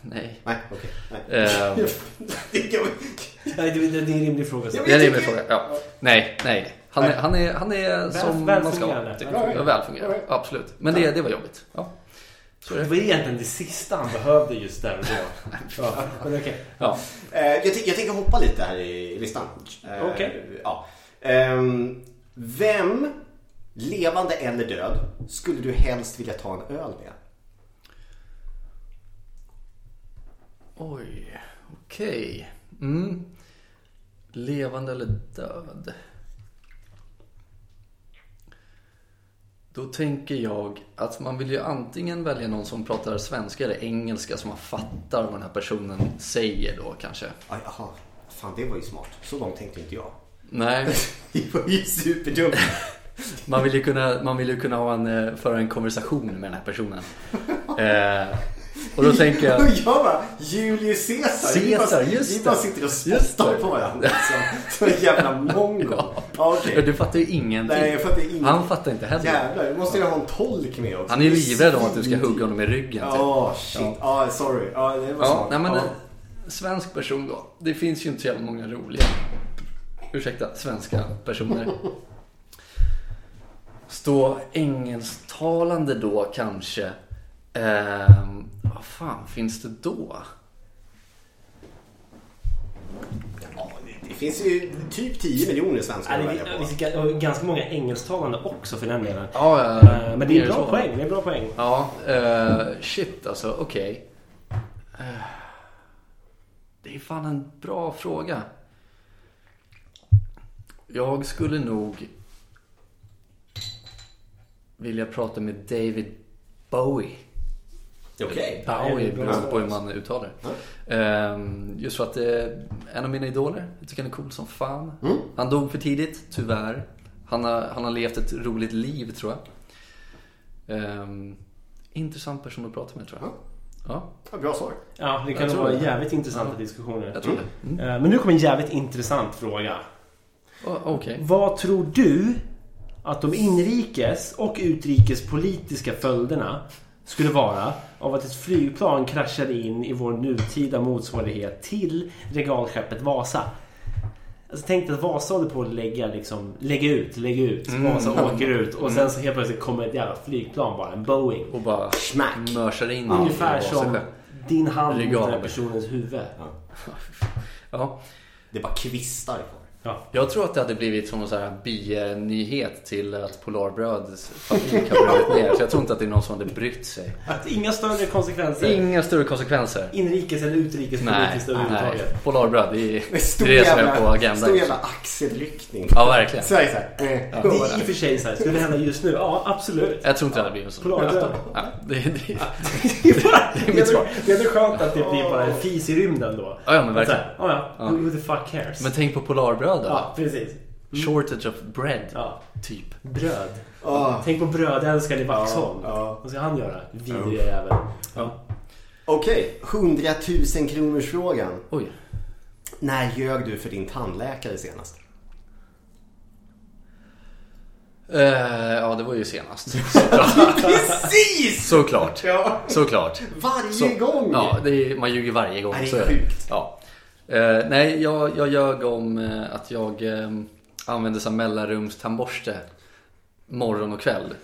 S3: Nej.
S2: Nej, okej. nej.
S3: Eh,
S2: Det kan-
S1: Nej, det, det, det är en rimlig fråga. Så.
S2: Ja,
S3: Det är en rimlig
S2: tycker-
S3: fråga. Ja. Nej, nej. Han är,
S2: Nej.
S3: han är, han är som man ska vara.
S1: välfungerande.
S3: tycker
S2: Ja,
S3: jag.
S2: ja.
S3: Ja, Välfungerande,
S2: Ja,
S3: absolut. Men det, det var jobbigt. Ja. Så är
S1: Det
S3: det.
S1: var egentligen det sista han behövde just där och då. Ja, men okej.
S3: Ja.
S2: Eh, jag, ty- jag tänker hoppa lite här i listan. Eh,
S1: Okej.
S2: Ja. Ehm, vem, levande eller död, skulle du helst vilja ta en öl med?
S3: Oj, okej. Mm. Levande eller död? Då tänker jag att man vill ju antingen välja någon som pratar svenska eller engelska så man fattar vad den här personen säger då kanske.
S2: Aj, Jaha, fan det var ju smart. Så långt tänkte inte jag.
S3: Nej,
S2: Det var ju superdumt.
S3: man vill ju kunna, man vill ju kunna ha en, eh, föra en konversation med den här personen. Eh, och då tänker jag...
S2: Och jag bara, Julius Caesar. vi bara-
S3: Caesar, just
S2: Vi bara
S3: det.
S2: sitter och
S3: Just
S2: spottar
S3: det.
S2: på varandra. Som, som jävla mongo. Ja.
S3: Ja, Du fattar ju ingenting.
S2: Nej, jag fattar ingenting.
S3: Han fattar inte heller.
S2: Jävlar, du måste ju ha en tolk med också.
S3: Han är ju livrädd om att du ska hugga honom i ryggen. typ.
S2: Ja, shit. Ja, sorry. Ja, det var
S3: Ja,
S2: smart.
S3: nej men
S2: Ja.
S3: eh, svensk person då. Det finns ju inte så jävla många roliga. ursäkta, svenska personer. Stå engelsktalande då kanske. Ehm, vad fan finns det då?
S2: Ja, det- det finns ju typ 10 miljoner svenskar att
S1: Ja,
S2: välja
S1: det
S2: på.
S1: finns ga- ganska många engelsktalande också för den delen.
S3: Ja, ja, ja.
S1: Eh, Men det är en
S3: så.
S1: bra poäng. Det är en bra poäng.
S3: Ja, eh, shit alltså, okej. Eh, det är fan en bra fråga. Jag skulle nog vilja prata med David Bowie.
S2: Okej.
S1: det
S3: Bowie,
S1: är bra.
S3: beroende på hur man uttalar det. Ehm, Just för att det är en av mina idoler. Jag tycker han är cool som fan. Han dog för tidigt, tyvärr. Han har, han har levt ett roligt liv, tror jag. Ehm, intressant person att prata med, tror jag.
S2: Ja.
S3: Ja,
S2: Ja, Bra svar.
S1: Ja, det
S3: Jag
S1: kan nog
S3: tror
S1: vara
S3: det.
S1: jävligt intressanta diskussioner.
S3: jag tror det. Mm.
S1: Eh, Men nu kommer en jävligt intressant fråga.
S3: Oh, Okej.
S1: Vad tror du att de inrikes och utrikespolitiska följderna skulle vara av att ett flygplan kraschade in i vår nutida motsvarighet till regalskeppet Vasa? Alltså tänk dig att Vasa håller på att lägga, liksom, lägga ut, lägga ut.
S3: Mm.
S1: Vasa åker ut och sen så helt plötsligt kommer ett jävla flygplan bara, en Boeing.
S3: Och bara
S2: Smack.
S3: mörsar in i
S1: Ungefär
S3: Vasa
S1: som
S3: själv.
S1: din hand mot den här
S3: Regal.
S1: personens huvud.
S3: Ja.
S2: Det är bara kvistar kvar.
S1: Ja.
S3: Jag tror att det hade blivit som någon sån här binyhet till att Polarbröds fabrik har brunnit ner. Så jag tror inte att det är någon som hade brytt sig.
S1: Att inga större konsekvenser.
S3: Inga större konsekvenser.
S1: Inrikes eller
S3: Nej,
S1: utrikespolitiskt
S3: nej.
S1: överhuvudtaget.
S3: Polarbröd, det är
S2: Det är
S3: det, är det som är på agendan.
S2: Stor jävla axelryckning.
S3: Ja, verkligen.
S2: Så här, så här. eh,
S1: Det
S2: och
S1: är i och för sig så här, skulle det hända just nu? Ja, absolut.
S3: Jag tror inte det hade blivit så.
S1: Polarbröd.
S3: Ja, det, det,
S1: Det är
S3: mitt svar.
S1: Det är ändå skönt att det blir bara en fis i rymden då.
S3: Ja, ja,
S1: Att
S3: men
S1: så
S3: verkligen.
S1: här, Ja, ja. Who the fuck cares?
S3: men tänk på Polarbröd då.
S1: Ja, precis.
S2: Mm.
S3: Shortage of bread,
S1: Ja.
S3: typ.
S1: Bröd.
S2: Ah.
S1: Tänk på brödälskaren i Vaxholm.
S2: ja.
S1: Vad ska han göra? Vidriga jävel.
S2: Okej, 100 000 kronors frågan.
S3: Oj.
S2: När ljög du för din tandläkare senast?
S3: Eh, ja, det var ju senast. Såklart.
S2: Precis!
S3: Såklart.
S2: Ja.
S3: Såklart.
S2: Varje
S3: Så-
S2: gång!
S3: Ja, det är, man ljuger varje gång.
S2: Nej, det är
S3: så
S2: sjukt.
S3: Ja. Eh, nej, jag, jag ljög om eh, att jag eh, använde så här mellanrumstandborste morgon och kväll.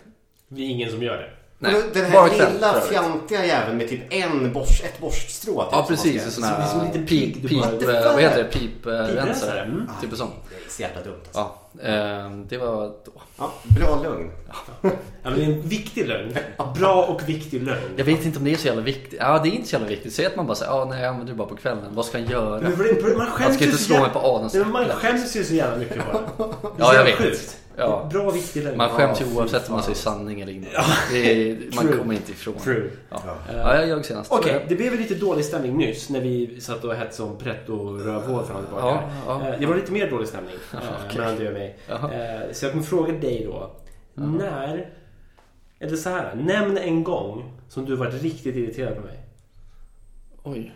S1: Det är ingen som gör det.
S3: Nej,
S2: den
S3: bara
S2: här
S3: kväll, för
S2: lilla
S3: övrigt.
S2: fjantiga jäveln med typ en borst, ett borststrå. Typ,
S3: Ja
S2: som
S3: precis,
S2: man
S3: en
S2: ska-
S3: sån här
S1: det är som en liten
S3: pip,
S1: pig-
S3: pip,
S1: What
S2: the
S3: eh,
S2: fuck?
S3: vad heter det? Piprensare.
S1: Piprensare,
S3: Mm.
S1: mm.
S3: Typ en sån.
S2: Det är så jävla dumt alltså.
S3: Ja, eh, det var då.
S2: Ja, bra lugn.
S1: Ja, men det är en viktig lögn. Bra och viktig lögn.
S3: Jag vet inte om det är så jävla viktigt. Ja, det är inte så jävla viktigt. Säg att man bara säger, ja nej jag använder det bara på kvällen. Vad ska jag göra?
S1: Men det- Man
S3: Man
S1: skäms
S3: ska
S1: ju
S3: inte
S1: så
S3: slå
S1: jä-
S3: mig på adens
S1: Nej, men Man
S3: äpple.
S1: skäms ju så jävla mycket för det. Det är
S3: Ja, jag
S1: så jävla
S3: vet.
S1: sjukt.
S3: Ja.
S1: Bra och viktig lögn.
S3: Man skäms
S1: Ja,
S3: ju
S1: fy
S3: oavsett om man
S1: fan.
S3: säger sanning eller inte. Det är, man
S1: True.
S3: kommer inte ifrån.
S1: True.
S3: Ja. ja, jag ljög senast.
S1: Okej, det blev ju lite dålig stämning nyss när vi satt och hetsade om pretto-rövhål fram och tillbaka.
S3: Ja, ja.
S1: Eh, Det var lite mer dålig stämning eh,
S3: Okej.
S1: mellan dig och mig.
S3: Jaha.
S1: Eh, Så jag kommer fråga dig då. När... Eller så här, nämn en gång som du varit riktigt irriterad på mig.
S3: Oj.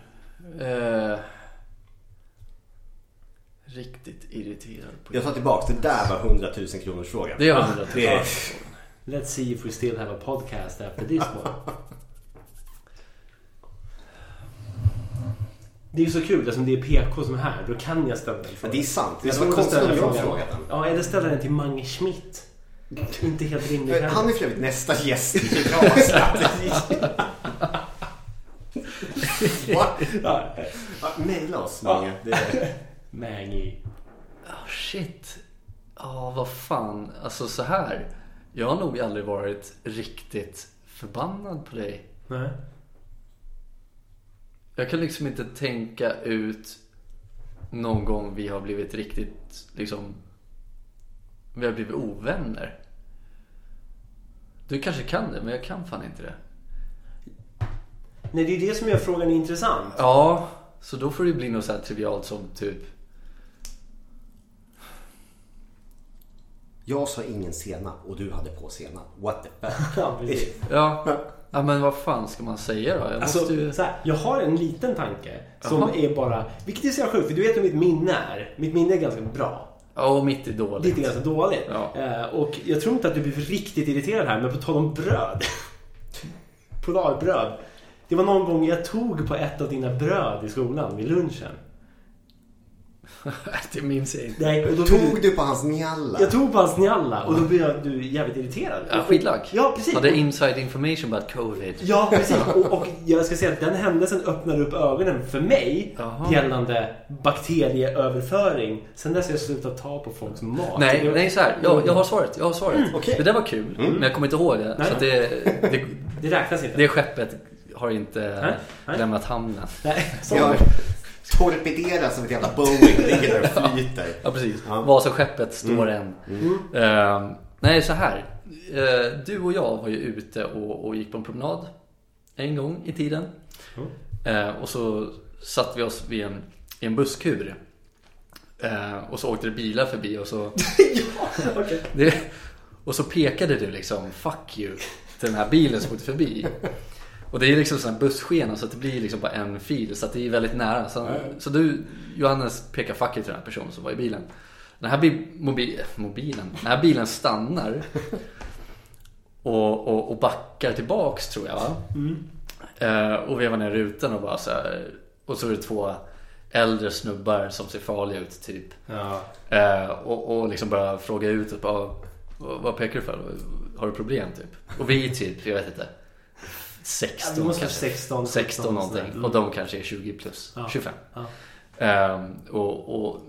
S3: Eh, riktigt irriterad på
S2: Jag tar tillbaka, det där var 100 000 kronors frågan.
S3: Det är jag hundra
S2: Det är...
S1: Let's see if we still have a podcast after this one. Det är ju så kul eftersom det är PK som är här. Då kan jag ställa den
S2: Ja,
S1: frågan.
S2: det är sant. Det är
S1: Jag
S2: så
S1: borde
S2: konstigt
S1: ställa
S2: om jag har
S1: frågan.
S2: frågat den.
S1: Ja, eller ställa den till Mange Schmidt. Inte helt rimligt
S2: Men
S1: heller.
S2: Eh, Han är för övrigt nästa gäst i Rasstrategi. Va?
S1: Ja.
S2: Ja, Mejla oss Mange. Det är-
S1: Mange.
S3: Oh, shit. Ja, vad fan. Alltså så här. Jag har nog aldrig varit riktigt förbannad på dig.
S1: Nej.
S3: Jag kan liksom inte tänka ut någon gång vi har blivit riktigt liksom... Vi har blivit ovänner. Du kanske kan det, men jag kan fan inte det.
S1: Nej, det är ju det som gör frågan intressant.
S3: Ja, så då får det bli något så här trivialt som typ...
S2: Jag sa ingen senap och du hade på senap. What the fuck?
S1: Ja, precis.
S3: Ja, ja men vad fan ska man säga då? Jag måste ju...
S1: Alltså, så här, jag har en liten tanke som
S3: Jaha.
S1: är bara... Vilket är så jävla sjukt, för du vet hur mitt minne är. Mitt minne är ganska bra.
S3: Ja, och mitt är dåligt.
S1: Ditt är ganska dåligt.
S3: Ja.
S1: Eh, och jag tror inte att du blir riktigt irriterad här, men på tal om bröd. Polarbröd. Det var någon gång jag tog på ett av dina bröd i skolan vid lunchen.
S3: det minns jag inte.
S1: Nej, och då blir
S2: Tog
S1: du,
S2: du på hans njalla?
S1: jag tog på hans njalla och då blev jag, du jävligt irriterad.
S3: Ja, skitlack.
S1: Ja, precis.
S3: Hade inside information about covid.
S1: Ja, precis. Och, och jag ska säga att den händelsen öppnade upp ögonen för mig
S3: Jaha.
S1: gällande bakterieöverföring. Sen dess har jag slutat ta på folks mat.
S3: Nej,
S1: det,
S3: nej så här.
S1: Mm.
S3: Jag, jag har svaret. Jag har svaret.
S2: okej.
S3: Det där var kul, men jag kommer inte ihåg det.
S1: Nej.
S3: Så att det, det,
S1: det räknas inte.
S3: det skeppet har inte
S1: Nej, nej.
S3: lämnat hamnen.
S1: Nej, så.
S2: Jag torpederas som ett jävla Boeing. Ligger där och flyter.
S3: Ja, precis.
S2: Ja.
S3: Vasaskeppet
S1: Mm.
S3: står än. Ehm, nej, så här. Eh, du och jag var ju ute och, och gick på en promenad en gång i tiden.
S1: Mm.
S3: Eh, och så satte vi oss vid en, i en busskur. Eh, och så åkte det bilar förbi och så...
S1: Okej.
S3: Det, och så pekade du liksom 'fuck you' till den här bilen som åkte förbi. Och det är liksom sån här busschena så att det blir liksom bara en fil så att det är väldigt nära. Så, så du, Johannes pekar 'fuck you' till den här personen som var i bilen. Den här bi, mobi, mobilen, den här bilen stannar och, och, och backar tillbaks tror jag va? Eh, och vevar ner rutan och bara så här, Och så är det två äldre snubbar som ser farliga ut typ.
S1: Ja.
S3: Eh, och, och liksom bara fråga ut typ, ah, vad vad pekar du för? Har du problem typ? Och vi är typ, jag vet inte,
S1: Ja,
S3: 16
S1: vi måste vara
S3: kanske.
S1: 16,
S3: 16 någonting.
S1: sådär. Mm.
S3: Och de kanske är 20 plus,
S1: Ja.
S3: 25.
S1: Ja.
S3: Ehm, och, och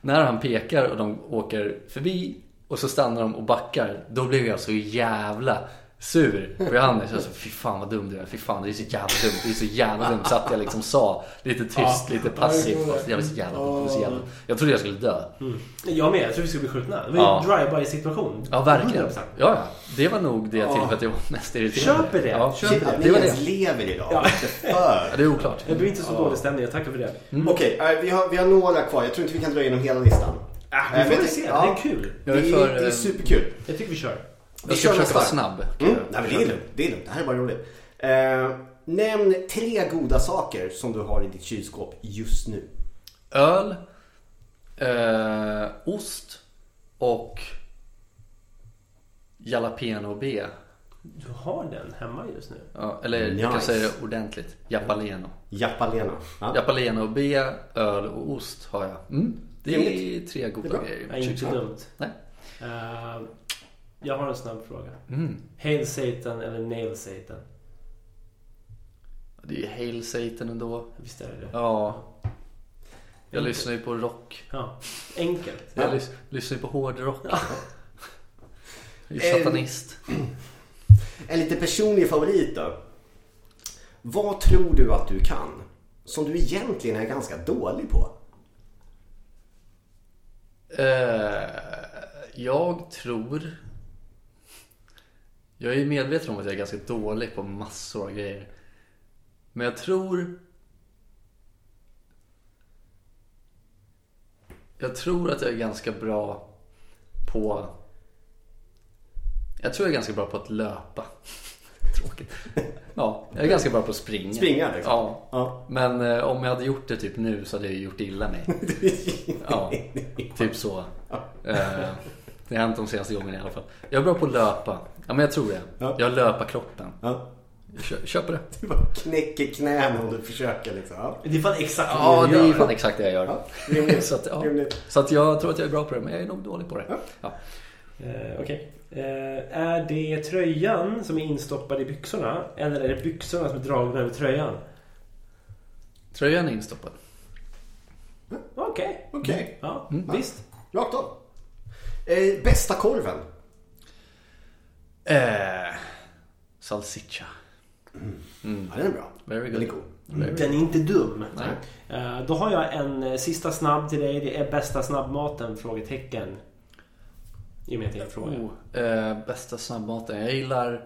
S3: när han pekar och de åker förbi och så stannar de och backar. Då blev jag så jävla sur på Johannes. Jag sa fy fan vad dum du är. Fy fan det är så jävla dumt. Det är så jävla dumt. Så att jag liksom sa lite tyst, lite passivt. fast Jag var så jävla dum. jag var så jävla dum. Jag trodde jag skulle dö.
S1: Jag med, jag tror vi skulle bli skjutna. Det var ju drive-by-situation.
S3: Ja verkligen.
S1: 100%.
S3: Ja, ja. Det var nog det tillfället jag var mest irriterad.
S1: Köper det.
S3: Ja,
S1: Köper
S2: Shit,
S3: det.
S2: att ni
S3: Det var
S2: ens
S3: det.
S2: lever idag. Vad
S3: Ja,
S2: för?
S3: det är oklart.
S1: Jag blir inte så dålig stämning, jag tackar för det.
S2: Okej, eh, vi, har, vi har några kvar. Jag tror inte vi kan dra igenom hela listan.
S1: Ah,
S2: Eh,
S1: vi får
S2: men
S1: väl
S2: det-
S1: se,
S2: ja.
S1: det är kul.
S2: Det
S3: Jag är för,
S2: är, det är
S3: eh,
S2: superkul.
S1: Jag tycker vi kör.
S2: kör
S3: Jag ska försöka
S2: nästa.
S3: vara snabb.
S2: Mm, nej, men det är lugnt. Det är lugnt. Det här är bara roligt. Eh, nämn tre goda saker som du har i ditt kylskåp just nu.
S3: Öl, eh, ost och jalapeno B.
S1: Du har den hemma just nu.
S3: Ja, eller jag kan
S2: Nice.
S3: säga det ordentligt. Japaleno.
S2: Jappa-Lena. Ja.
S3: Japaleno B, öl och ost har jag. Mm. Det är
S2: Trevligt.
S3: tre goda
S2: bra.
S3: grejer. i
S1: Nej,
S3: mitt
S1: inte så
S3: kylskåp.
S1: dumt.
S3: Nej.
S1: Eh, jag har en snabb fråga.
S3: Mm.
S1: Hail Satan eller Nail Satan?
S3: Det är ju Hail Satan ändå.
S1: Visst är det det?
S3: Ja. Jag lyssnar ju på rock.
S1: Ja, enkelt.
S3: Jag lys- lyssnar ju på hårdrock. Jag är
S2: Eh,
S3: satanist.
S2: En lite personlig favorit då. Vad tror du att du kan? Som du egentligen är ganska dålig på.
S3: Eh, jag tror... Jag är ju medveten om att jag är ganska dålig på massor av grejer. Men jag tror... Jag tror att jag är ganska bra på... Jag tror jag är ganska bra på att löpa. Tråkigt. Ja, jag är ganska bra på att springa.
S2: Springa, liksom.
S3: Ja.
S2: Ja.
S3: Men eh, om jag hade gjort det typ nu så hade jag ju gjort illa mig. Ja, typ så. Eh, det har hänt de senaste gångerna i alla fall. Jag är bra på att löpa. Ja, men jag tror det.
S2: Ja.
S3: Jag löpar kroppen.
S2: Ja.
S3: Kö- Köper det.
S2: Du bara knäcker knäna om du försöker liksom. Ja.
S1: Det är fan exakt
S3: Ja,
S1: vad
S3: det
S1: du
S3: är
S1: gör.
S3: fan exakt det jag gör.
S2: Ja, rimligt.
S3: Så, att, ja.
S2: Rimligt.
S3: så att jag tror att jag är bra på det, men jag är nog dålig på det. Ja.
S1: Eh, Okej. Eh, är det tröjan som är instoppad i byxorna? Eller är det byxorna som är dragna över tröjan?
S3: Tröjan är instoppad.
S1: Okej.
S2: Okej,
S1: Ja,
S3: Mm.
S1: visst.
S2: rakt av. Eh, bästa korven?
S3: Eh, salsiccia.
S2: Ja, den är bra.
S3: Very
S2: Den är
S3: good.
S2: god.
S1: Den är inte dum.
S3: Nej.
S1: Eh, då har jag en eh, sista snabb till dig. Det är bästa snabbmaten? Frågetecken. I och med att det är en fråga.
S3: Oh, eh, bästa snabbmaten. Jag gillar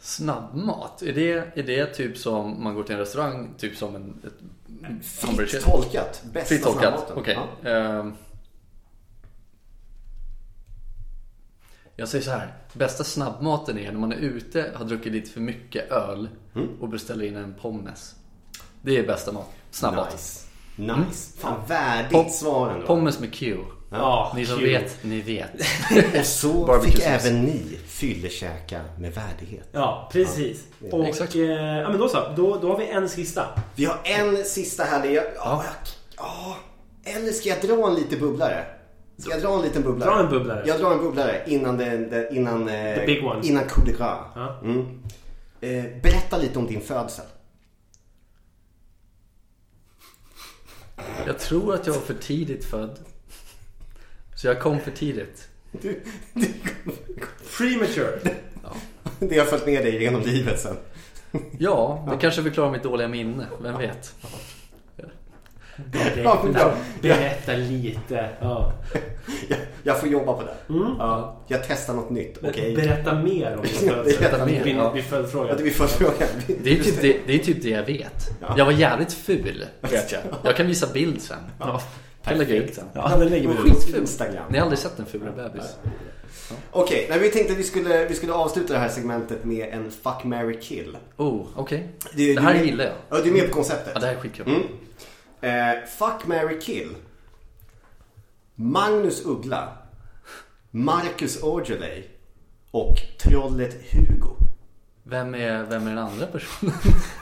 S3: snabbmat. Är det, är det typ som man går till en restaurang, typ som en ett
S2: Fritt tolkat. Bästa
S3: Fritt tolkat,
S2: snabbmaten.
S3: okej.
S2: Ja.
S3: Ehm. Jag säger så här. Bästa snabbmaten är när man är ute, har druckit lite för
S2: Mm.
S3: mycket öl och beställer in en pommes. Det är bästa mat. Snabbmat. Mm.
S2: Nice. Nice. Fan, värdigt
S3: Pom-
S2: svar ändå.
S3: Pommes med Q.
S1: Ja,
S3: Ni som
S1: kul.
S3: vet, ni vet.
S2: Och så
S3: Barbecue
S2: fick
S3: sås.
S2: även ni fyllekäka med värdighet.
S1: Ja, precis. Och
S3: Exakt.
S1: Eh, ja, men då så. Då, då har vi en sista.
S2: Vi har en sista här. där Jag, ja. jag, ja. Eller ska jag dra en liten bubblare? Ska jag dra en liten bubblare?
S1: Dra en bubblare.
S2: Jag drar en bubblare innan den, den, innan, The
S1: big one.
S2: innan coup de grace.
S1: Ja.
S2: Mm. Eh, berätta lite om din födsel.
S3: Jag tror att jag var för tidigt född. Så jag kom för tidigt.
S2: Du, du,
S1: Premature.
S2: det har följt med dig genom livet sen.
S3: Ja, det kanske förklarar mitt dåliga minne. Vem vet?
S2: Ja, men
S1: Berätta,
S2: bra.
S1: berätta lite. Ja.
S2: Jag, jag får jobba på det.
S3: Mm.
S2: Ja, jag testar något nytt. Okej.
S1: Berätta mer om din
S2: Berätta
S1: födelse.
S2: mer,
S1: Din,
S2: ja.
S1: din
S2: Ja, det
S1: följdfråga.
S2: blir första frågan.
S3: Det är, typ det, det är typ det jag vet. Jag var jävligt ful. Vet jag. jag kan visa bild sen. Ja, kan lägga ut den.
S1: Ja, den lägger
S2: På
S1: vi ut.
S2: Instagram.
S3: Ni har aldrig sett en fulare bebis?
S2: Okej, nej, vi tänkte att vi skulle, vi skulle avsluta det här segmentet med en Fuck, Mary kill.
S3: Oh, okej.
S2: Du-
S3: Det här
S2: du är med-
S3: gillar jag.
S2: Ja, du är med på konceptet.
S3: Ja, det här är skitkul.
S2: Mm. Eh, fuck, Mary kill. Magnus Uggla. Marcus Aujalay. Och trollet Hugo.
S3: Vem, är, vem är den andra personen?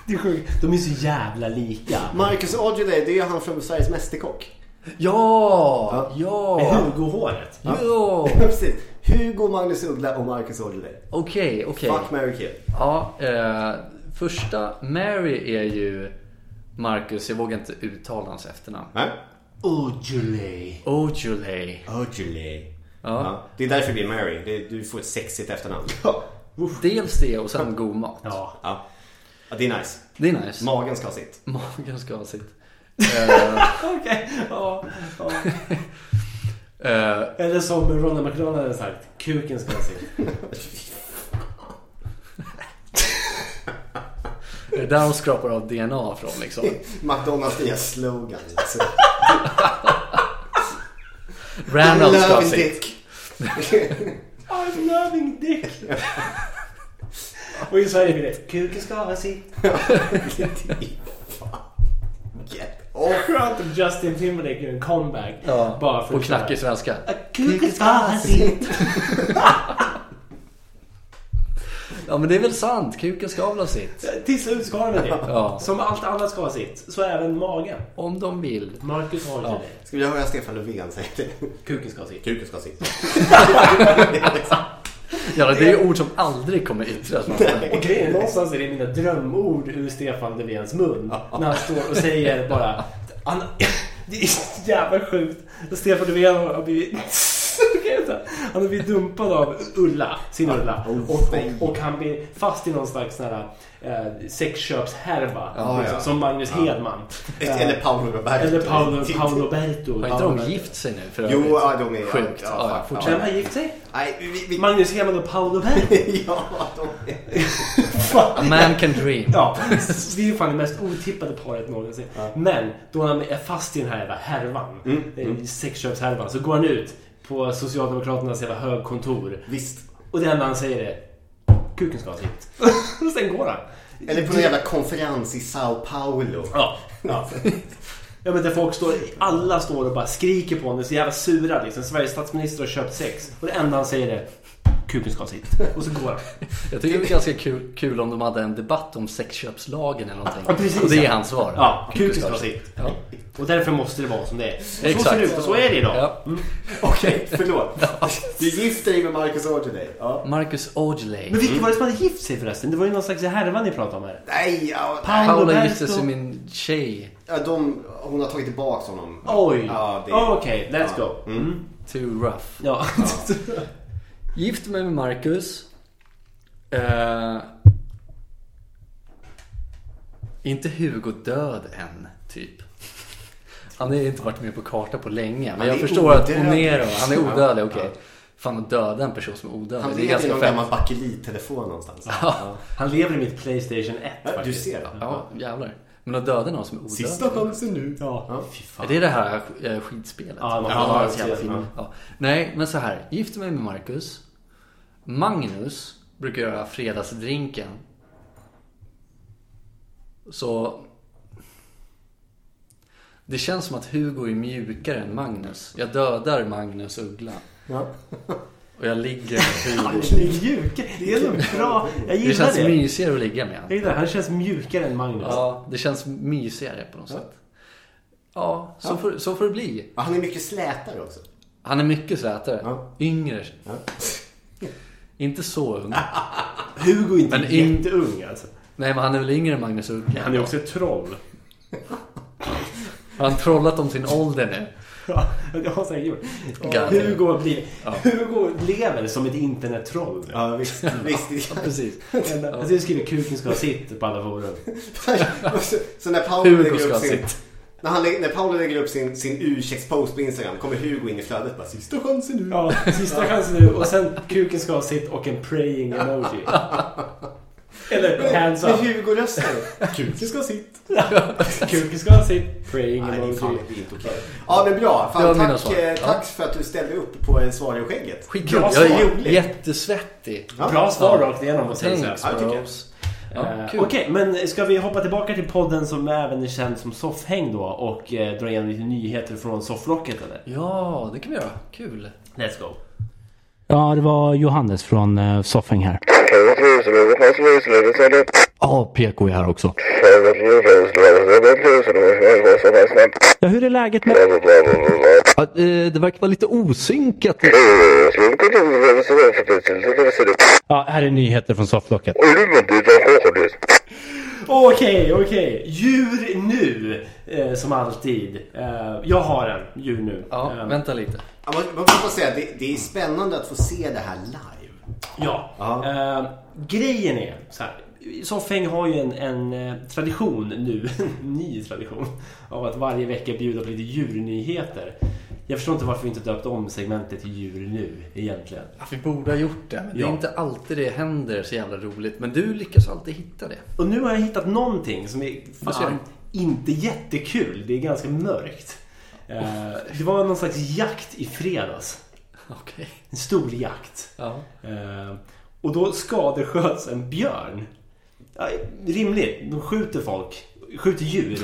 S1: Det är sjukt. De är så jävla lika.
S2: Marcus Aujalay, det är ju han från Sveriges Mästerkock.
S3: Ja!
S1: Med
S3: Ja!
S1: Hugo-håret.
S3: Ja!
S2: Precis. Hugo, Magnus Uggla och Marcus Aujalay.
S3: Okej, okej.
S2: Fuck, Mary kill.
S3: Ja, eh, första Mary är ju Marcus, jag vågar inte uttala hans efternamn.
S2: Nej?
S1: Ojulay.
S3: Ojulay.
S2: Aujalay.
S3: Ja.
S2: Det är därför det blir Mary. Det, du får ett sexigt efternamn.
S3: Dels det och sen god mat.
S1: Ja.
S2: Ja. ja, det är nice.
S3: Det är nice.
S2: Magen ska ha sitt.
S3: Magen ska ha sitt. Eh,
S1: Okej. Ja, ja.
S3: eh,
S1: Eller som Ronald McDonald hade sagt. Kuken ska ha sitt.
S3: det är där de skrapar av DNA från liksom.
S2: McDonalds nya slogan. Alltså.
S3: Randall ska ha
S2: Love
S3: sitt.
S2: dick.
S1: I'm loving dick. Och i Sverige blir det. Kuken ska ha sitt.
S2: Get off.
S1: Skönt om Justin Timberlake gör en comeback.
S3: Ja,
S1: Bara för
S3: och knackig svenska.
S1: Kuken ska ha sitt.
S3: Ja men det är väl sant, kuken ska väl ha sitt.
S1: Till slut ska den det.
S3: Ja.
S1: Som allt annat ska ha sitt. Så även magen.
S3: Om de vill.
S1: Marcus har ju
S3: Ja.
S1: det.
S2: Ska vi höra Stefan Löfven säga det?
S1: Kuken ska ha sitt.
S2: Kuken ska ha sitt.
S3: Ja, det är ord som aldrig kommer yttras.
S1: Och grejen är, någonstans är det mina drömord ur Stefan Löfvens mun. När han står och säger bara... Han, det är så jävla sjukt. Stefan Löfven har blivit... Han har blivit dumpad av Ulla, sin Ulla.
S2: oh,
S1: Och,
S2: nej.
S1: och, och han blir fast i någon slags sån här, eh, sexköpshärva.
S2: Ja,
S1: liksom,
S2: ja.
S1: Som Magnus Hedman. Eh,
S2: Eller Paolo Roberto.
S1: eller Paolo, Paolo Berto.
S3: Har inte de gift sig nu för
S2: Jo,
S3: övrigt?
S2: ja, de är... ja,
S3: Sjukt.
S2: ja, fan,
S3: Ja, ja, fortsätt.
S1: Vem har gift sig?
S2: Nej, vi... vi
S1: Magnus Hedman och Paolo Berto.
S2: ja, de är...
S3: A man can dream.
S1: Ja, det är ju fan det mest otippade paret någonsin. Men då han är fast i den här jävla härvan, mm. sexköpshärvan, så går han ut på Socialdemokraternas jävla högkontor.
S2: Visst.
S1: Och det enda han säger är Kuken ska ha sitt. och sen går han.
S2: Eller på någon jävla konferens i Sao Paulo.
S1: Ja. ja. Ja men där folk står, alla står och bara skriker på honom, är så jävla sura liksom. Sveriges statsminister har köpt sex. Och det enda han säger är Kuken ska ha sitt. Och så går han.
S3: Jag tycker det är ganska kul, kul om de hade en debatt om sexköpslagen eller någonting.
S1: Ja, precis,
S3: och det är
S1: ja.
S3: hans svar.
S1: Ja, kuken ska ha sitt.
S3: Ja.
S1: Och därför måste det vara som det är. Och så
S3: Exakt.
S1: ser det ut och så är det idag.
S3: Ja.
S2: Okej, förlåt. Du gifter dig med Marcus Aujalay. Ja.
S3: Marcus Aujalay.
S1: Men vilka var det som hade gift sig förresten? Det var ju någon slags härva ni pratade om här.
S2: Nej, ja, nej.
S1: Paolo
S3: Paula
S1: Berto.
S3: gifte sig med en tjej.
S2: Ja, de, hon har tagit tillbaka honom.
S1: Oj!
S2: Ja, det-
S1: Okej, let's
S2: ja.
S1: go. Mm.
S3: Too rough.
S1: Ja.
S3: Gift mig med Marcus. Eh, inte Hugo död än, typ. Han har inte varit med på karta på länge. Men
S2: Han
S3: jag
S2: är
S3: förstår att
S2: odödlig.
S3: Onero, han är odödlig, okej. Fan att döda en person som är odödlig.
S2: Han
S3: det är
S2: lever i
S3: ganska
S2: någon
S3: fett.
S2: gammal bakelittelefon någonstans.
S3: Ja,
S1: Han lever i mitt Playstation 1
S2: Ja, Du
S1: faktiskt.
S2: ser det.
S3: ja, jävlar. Men att döda någon som är odödlig.
S2: chansen nu.
S1: Ja. Fy
S3: Är
S1: fan.
S3: det det här eh, skidspelet?
S1: Ja,
S3: man
S1: man-
S2: ja,
S3: ja,
S2: precis,
S3: jävla film.
S2: ja.
S3: Ja. Nej, men så här. Gifte mig med Marcus. Magnus brukar göra fredagsdrinken. Så... Det känns som att Hugo är mjukare än Magnus. Jag dödar Magnus Uggla.
S2: Ja.
S3: Och jag ligger med Hugo.
S1: Mjukare? Det är så bra. Jag
S3: Det
S1: gillar
S3: känns
S1: det.
S3: mysigare att ligga med.
S1: Jag gillar det. Han känns mjukare än Magnus.
S3: Ja, det känns mysigare på något
S2: Ja.
S3: sätt. Ja, så, Får, så får det bli.
S2: Ja, han är mycket slätare också.
S3: Han är mycket slätare.
S2: Ja.
S3: Yngre.
S2: Ja.
S3: Inte så ung.
S1: Ah. Hugo är inte
S3: Men in-
S1: jätteung alltså.
S3: Nej, men han är väl yngre än Magnus Uggla.
S1: Han är också ett troll.
S3: Har han trollat om sin ålder nu?
S1: Ja, det har han säkert gjort.
S3: Ja.
S1: Hugo, har blivit-
S3: Ja.
S1: Hugo lever som ett internettroll nu.
S2: Ja, visst. visst.
S3: Precis.
S1: alltså, Jag tycker du skriver kuken ska ha sitt på alla forum.
S2: så, så när Paolo
S3: Hugo
S2: lägger
S3: ska
S2: upp
S3: ha
S2: sin...
S3: sitt.
S2: När, han, lägger- när Paolo lägger upp sin, sin ursäktspost på Instagram kommer Hugo in i flödet bara “Sista chansen nu”.
S1: Ja, sista chansen nu. Och sen kuken ska ha sitt och en praying emoji. Eller hands
S2: Med
S1: up.
S2: Hugo-röster. Kuken ska ha sitt.
S1: Kuken ska ha sitt. Praying
S2: Nej, det är
S1: emoji.
S2: fan det är inte okej. Ja, men bra.
S3: Det var
S2: Fan,
S3: mina
S2: tack,
S3: svar.
S2: eh,
S3: Ja.
S2: tack för att du ställde upp på en svar i skägget.
S3: Skitkul.
S1: Bra
S3: Jag
S1: svar.
S3: är jättesvettig.
S2: Ja.
S1: Bra svar rakt igenom och sen så
S3: Thanks,
S1: här.
S2: Ja, det tycker jag.
S3: bros. Ja,
S1: Eh,
S3: kul.
S1: Okej, men ska vi hoppa tillbaka till podden som även är känd som Soffhäng då och eh, dra igenom lite nyheter från Sofflocket eller?
S3: Ja, det kan vi göra. Kul.
S1: Let's go. Ja, det var Johannes från eh, Soffhäng här. Ja, PK är här också. Ja, hur är läget med...
S3: eh, det verkar vara lite osynkat.
S1: Ja, här är nyheter från Sofflocket. Okej, okej. Djur nu, eh, som alltid. Eh, jag har en, djur nu.
S3: Ja,
S1: Eh,
S3: vänta lite.
S2: Ja, man, man får bara säga att det, det är spännande att få se det här live.
S1: Ja.
S2: Ja.
S1: Eh, grejen är så här. Soffhäng har ju en, en eh, tradition nu, en ny tradition, av att varje vecka bjuda på lite djurnyheter. Jag förstår inte varför vi inte döpt om segmentet till Djur nu egentligen.
S3: Vi borde ha gjort det. Men det
S1: Ja.
S3: är inte alltid det händer så jävla roligt. Men du lyckas alltid hitta det.
S1: Och nu har jag hittat någonting som är
S3: se
S1: fan inte jättekul. Det är ganska mörkt. Eh, det var någon slags jakt i fredags.
S3: Okej.
S1: En stor jakt.
S3: Ja.
S1: Eh, och då skadesköts en björn. Ja, rimligt, de skjuter folk. Skjuter djur.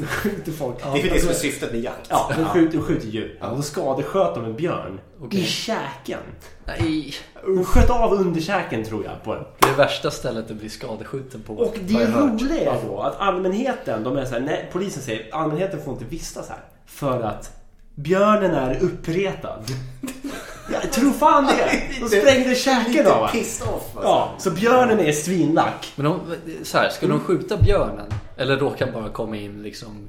S1: De skjuter folk.
S2: Det är väl det som är syftet med jakt.
S1: Ja, de skjuter, de skjuter djur. Och då skadesköt de en björn. I käken.
S3: Nej.
S1: De sköt av underkäken tror jag på den.
S3: Det är det värsta stället att bli skadeskjuten på.
S1: Och det
S3: har jag hört.
S1: roliga är då att allmänheten, de är så här, nej, polisen säger allmänheten får inte vistas här. För att björnen är uppretad. Jag tror fan det! De sprängde käken av
S2: Lite
S1: honom.
S2: pissed off alltså.
S1: Ja, så björnen är svinlack.
S3: Men de, så här, skulle de skjuta björnen? Eller råkar bara komma in liksom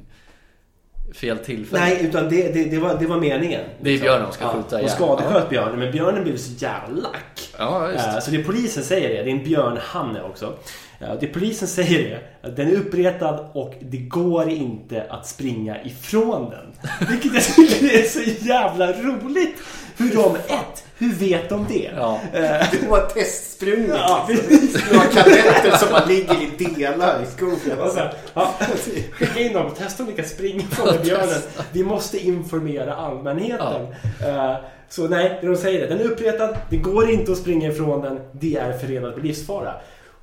S3: fel tillfälle?
S1: Nej, utan det, det, det, var, det var meningen.
S3: Det är björnen de ska skjuta
S1: Och
S3: ihjäl.
S1: skadesköt björnen, men björnen blev så jävla lack.
S3: Ja, just.
S1: Eh, Så det polisen säger det, det är en björnhanne också. Eh, Det polisen säger det, att den är uppretad och det går inte att springa ifrån den. Vilket jag tycker är så jävla roligt. Hur de, ett, hur vet de det?
S3: Ja.
S2: Det var testsprungning.
S1: Ja,
S2: liksom.
S1: precis.
S2: Det var kadetter som bara ligger i delar i skogen.
S1: Och så här, ja, skicka in dem, testa om ni kan springa från den björnen. Vi måste informera allmänheten. Eh, Så nej, det de säger det. Den är uppretad, det går inte att springa ifrån den. Det är förenat med livsfara.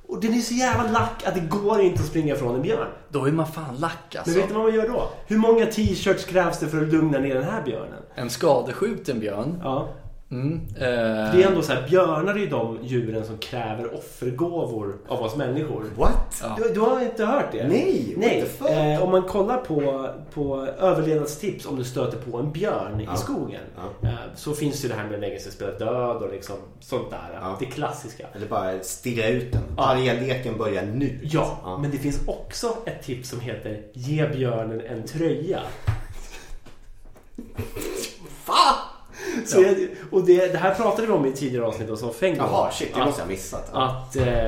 S1: Och den är så jävla lack att det går inte att springa ifrån en björn.
S3: Då är man fan lack
S1: Men
S3: alltså.
S1: vet du vad man gör då? Hur många t-shirts krävs det för att lugna ner den här björnen?
S3: En skadeskjuten björn.
S1: Ja.
S3: Mm. Eh,
S1: Det är ändå så här, björnar är ju de djuren som kräver offergåvor av oss människor.
S2: What?
S3: Ja.
S1: Du, du har inte hört det?
S2: Nej, what
S1: Nej.
S2: the fuck?
S1: Eh, om man kollar på, på överlevnadstips om du stöter på en björn i skogen.
S2: Ja.
S1: Eh, så finns ju det här med att lägga sig och spela död och liksom sånt där.
S2: Ja.
S1: Det klassiska.
S2: Eller bara stirra ut den. Arga leken börjar nu.
S1: Ja, men det finns också ett tips som heter Ge björnen en tröja.
S2: Va?
S1: Så jag, och det, det här pratade vi om i tidigare avsnitt av Soffhäng. då.
S2: Jaha, shit. Det
S1: Att-
S2: måste jag ha missat. Ja.
S1: att eh,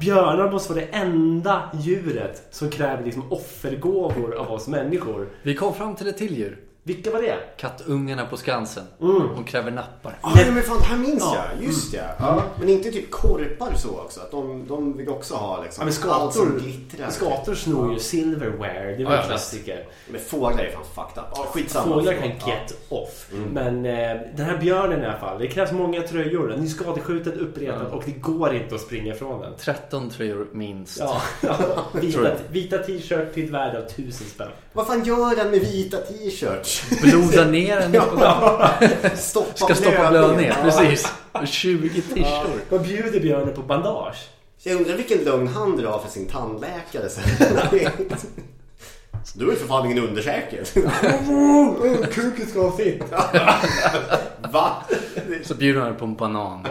S1: björnar måste vara det enda djuret som kräver liksom offergåvor av oss människor.
S3: Vi kom fram till ett till djur.
S1: Vilka var det?
S3: Kattungarna på Skansen.
S1: Mm.
S3: Hon kräver nappar.
S2: Ah, ja, men fan, det här minns
S1: Ja. Mm.
S2: jag. Just ja. ja. Men inte typ korpar så också? Att de, de vill också ha liksom,
S1: Ja, men
S2: allt som
S1: skator,
S2: glittrar.
S1: skator snor ju silverware. Det var
S3: Ja,
S1: en
S3: ja,
S1: klassiker.
S2: Men fåglar är fan fucked up. Ah, skitsamma.
S1: Fåglar kan get off. Men eh, den här björnen i alla fall. Det krävs många tröjor. Den är skadeskjuten, uppretad och det går inte att springa ifrån den.
S3: 13 tröjor minst.
S1: Ja, ja. Vita, vita t-shirt till ett värde av tusen spänn.
S2: Vad fan gör den med vita t-shirts?
S3: Bloda ner henne.
S2: Stoppa
S3: Ska stoppa
S2: blödningen.
S3: blödningen.
S2: Ja.
S3: Precis. 20 t-shirts.
S1: Man bjuder björnen på bandage.
S2: Så Jag undrar vilken lugn han drar för sin tandläkare sen. du är för fan ingen undersäker.
S1: Kuken ska ha sitt.
S2: Va?
S3: Så bjuder han på en banan.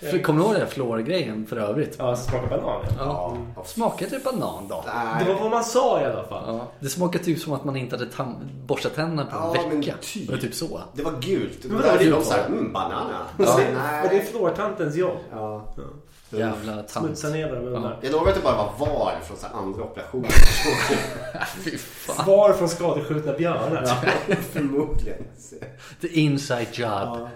S3: För- Kommer du ihåg den här fluorgrejen för övrigt?
S1: Ja, så smaka banan. ja.
S3: Ja. Smakade det banan då?
S2: Nej.
S1: Det var vad man sa i alla fall.
S3: Ja. Det smakade typ som att man inte hade tam- borstat tänderna på en
S2: Ja, men
S3: vecka.
S2: typ.
S3: Det var typ så.
S2: Det var gult. Det
S1: Men
S2: var
S1: vadå,
S2: därför
S1: det-
S2: de sa mm, banana.
S1: Ja.
S2: Så,
S1: Men det är
S2: nej.
S1: flårtantens jobb.
S2: Ja.
S3: Jävla tant.
S1: Smutsa ner dem undan.
S2: Jag lovar att det bara var var från så här andra operationer.
S3: Fy fan.
S1: Svar från skadeskjutna björnar.
S2: Förmodligen. Så,
S3: The inside job.
S2: ja.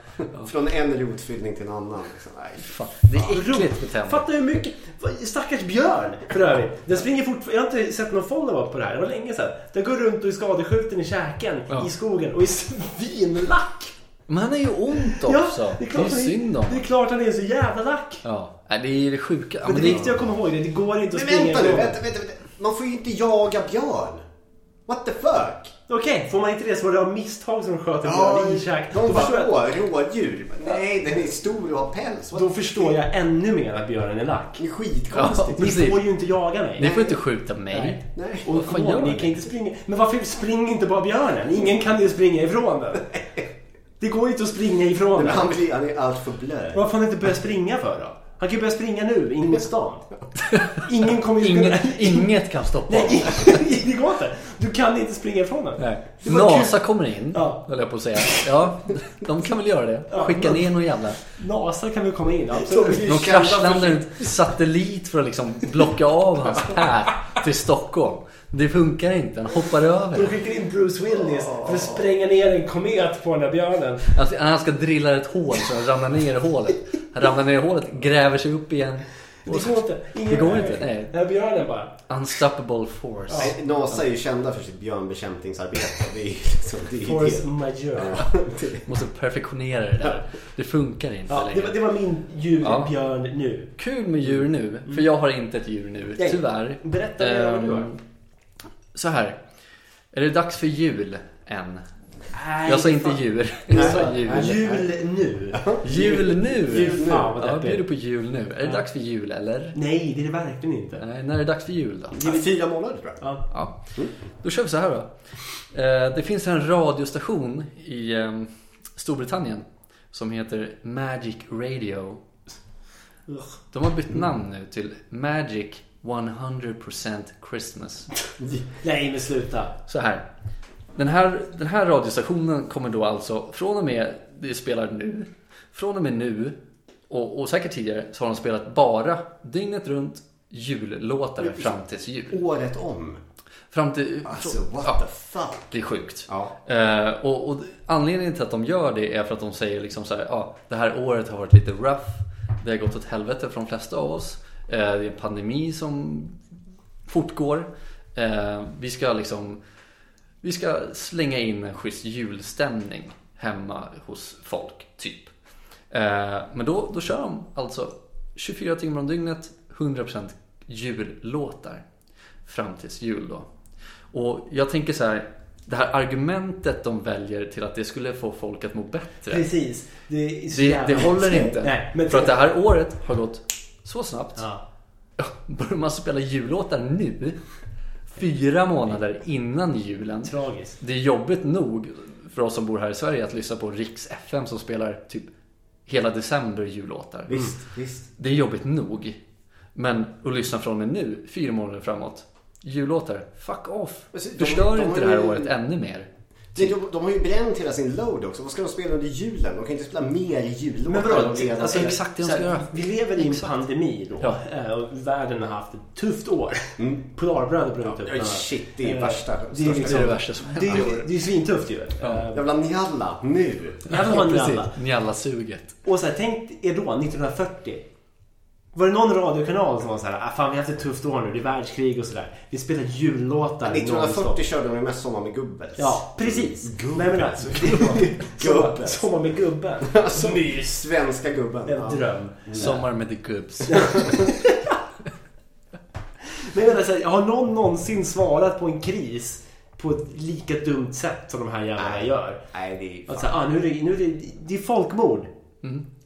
S2: Från en rotfyllning till en annan. Liksom. Nej.
S3: Fan. Det är äckligt beteende.
S1: Fattar hur mycket... vad- Stackars björn för övrigt. Den springer fortfarande... Jag har inte sett någon follow-up på det här. Det var länge sedan. Den går runt och är skadeskjuten i käken
S3: Ja.
S1: i skogen och är svinlack.
S3: Men han är ju ont också. det, är ju
S1: han
S3: synd om
S1: Det är klart han är så jävla lack.
S3: Ja, Nej, det är det sjuka. Ja,
S1: Men det
S3: det-
S1: viktiga att komma ihåg är att det går inte att
S2: Men
S1: springa
S2: vänta nu,
S1: ifrån.
S2: vänta, vänta, vänta. Man får ju inte jaga björn. What the fuck?
S1: Okej, får man inte det så var det av misstag som sköt en björn i käk.
S2: de
S1: Då förstår, jag,
S2: var rådjur. Men Nej, den är stor och har päls. What
S1: då
S2: the-
S1: förstår jag ännu mer att björnen är lack.
S2: Det är
S3: Ja.
S2: skitkonstigt.
S1: Ni
S3: Precis.
S1: får ju inte jaga mig.
S3: Ni får inte skjuta mig.
S2: Nej.
S1: Och
S3: Vad fan gör
S1: fan, ni
S3: ni?
S1: kan inte springa. Men varför springer inte bara björnen? Ingen kan ju springa ifrån den. Det går ju inte att springa ifrån
S2: Men
S1: den.
S2: han, blir, han är allt för blöd.
S1: Varför har han inte börjat springa för då? Han kan ju börja springa nu, in mot stan. Ingen kommer ju
S3: Ingen,
S1: kunna...
S3: inget kan stoppa honom.
S1: Nej, det går inte. Du kan inte springa ifrån den.
S3: Nej.
S1: Det var kul.
S3: Nasa kommer in,
S1: Ja.
S3: höll jag på att säga. Ja, de kan väl göra det.
S1: Ja.
S3: Skicka ner någon jävla...
S1: Nasa kan väl komma in,
S2: De
S1: absolut.
S2: blir
S3: Någon
S2: kända
S3: kraschlandar
S2: för-
S3: en satellit för att liksom blocka av hans här till Stockholm. Det funkar inte, han hoppar
S1: De
S3: över.
S1: skickar in Bruce Willis för att spränga ner en komet på den där björnen.
S3: Alltså, han ska drilla ett hål så han ramlar ner i hålet. Han ramlar ner i hålet, gräver sig upp igen. Och
S1: Det går inte. Ingen
S3: Det går inte, nej.
S1: Den här björnen bara...
S3: Unstoppable force.
S2: Nej, Nasa är ju kända för sitt björnbekämpningsarbete. Det är ju liksom, det är ju
S1: Force
S2: det.
S1: majeure.
S3: Måste perfektionera det där. Det funkar inte
S1: Ja, det,
S3: längre.
S1: var, det var min djur,
S3: Ja.
S1: björn, nu.
S3: Kul med djur nu, för jag har inte ett djur nu,
S1: Mm. Nej.
S3: tyvärr.
S1: Berätta mer om vad du har.
S3: Ehm, Så här. Är det dags för jul än?
S1: Nej,
S3: jag sa
S1: fy
S3: inte
S1: fan.
S3: djur. Jag sa
S2: Nej.
S3: jul.
S2: Nej.
S1: Jul nu.
S3: Jul nu!
S1: Jul nu. Fan, vad
S3: Ja, jag
S1: deppigt.
S3: bjuder på jul nu. Är det dags för jul eller?
S1: Nej, det är det verkligen inte.
S3: Nej, när är det dags för jul då?
S2: Det är väl fyra månader tror jag.
S1: Ja.
S3: Ja. Då kör vi så här då. Eh, Det finns en radiostation i eh, Storbritannien som heter Magic Radio.
S1: Ugh.
S3: De har bytt namn nu till Magic 100% Christmas.
S1: Nej, men sluta.
S3: Så här. Den, här. den här radiostationen kommer då alltså från och med, det spelar nu, från och med nu och, och säkert tidigare så har de spelat bara dygnet runt jullåtar fram tills jul.
S2: Året om.
S3: Fram till...
S2: Alltså what
S3: ja,
S2: the fuck.
S3: det är sjukt.
S2: Ja.
S3: Eh, och, och anledningen till att de gör det är för att de säger liksom så här, ja, det här året har varit lite rough. Det har gått åt helvete för de flesta av oss. Eh, det är en pandemi som fortgår. Eh, vi ska liksom, vi ska slänga in en schysst julstämning hemma hos folk, typ. Eh, men då, då kör de alltså 24 timmar om dygnet, 100% jullåtar. Fram tills jul då. Och jag tänker så här, det här argumentet de väljer till att det skulle få folk att må bättre.
S1: Precis. Det, är så
S3: Det, det
S1: jävla-
S3: håller inte.
S1: Nej, men
S3: För att det här året har gått så snabbt.
S1: Ja.
S3: Börjar man spela jullåtar nu, fyra månader innan julen.
S1: Tragiskt.
S3: Det är jobbigt nog för oss som bor här i Sverige att lyssna på Riks FM som spelar typ hela december jullåtar.
S1: Mm.
S2: Visst, visst.
S3: Det är jobbigt nog. Men att lyssna från och med nu, fyra månader framåt. Jullåtar, fuck off.
S2: Men så- de-
S3: Förstör
S2: de har
S3: inte det här
S2: ju-
S3: året ännu mer.
S2: Nej, de, de har ju bränt hela sin load också. Vad ska de spela under julen? De kan inte spela mer jullåtar.
S1: Men vadå?
S2: än det-
S1: Alltså,
S3: exakt det de
S1: så här,
S3: ska göra.
S1: Vi lever i en
S3: Exakt.
S1: pandemi då.
S3: Ja. Mm.
S1: Eh, och Världen har haft ett tufft år. Polarbrödet brunnit upp.
S2: Ja,
S1: bland annat.
S2: shit, det är
S1: Eh,
S2: värsta,
S1: Det är,
S2: största
S1: liksom,
S3: Det är det värsta som hänt
S1: det
S3: i år.
S1: är, det är svintufft ju. Eh,
S2: Jävla njalla, nu!
S1: Jag vill ha en
S3: Precis.
S1: jävla.
S3: Njallasuget.
S1: Och så här, tänk er då, 1940. Var det någon radiokanal som var så här, ah, fan vi har haft ett tufft år nu, det är världskrig och sådär. Vi spelar jullåtar nonstop."
S2: 1940 körde de ju mest Sommar med Gubbels.
S1: Ja, precis.
S2: Gubben.
S1: Men jag menar,
S2: Gubben.
S1: gubben. Sommar med gubben.
S2: Alltså,
S1: Mys.
S2: Svenska gubben.
S1: En dröm.
S3: Sommar med the gubbs.
S1: Men jag menar, så här, har någon någonsin svarat på en kris på ett lika dumt sätt som de här jävlarna
S2: Nej.
S1: gör?
S2: Nej, det är ju fan-
S1: Att så här, ah, nu är det, nu är det, det är folkmord.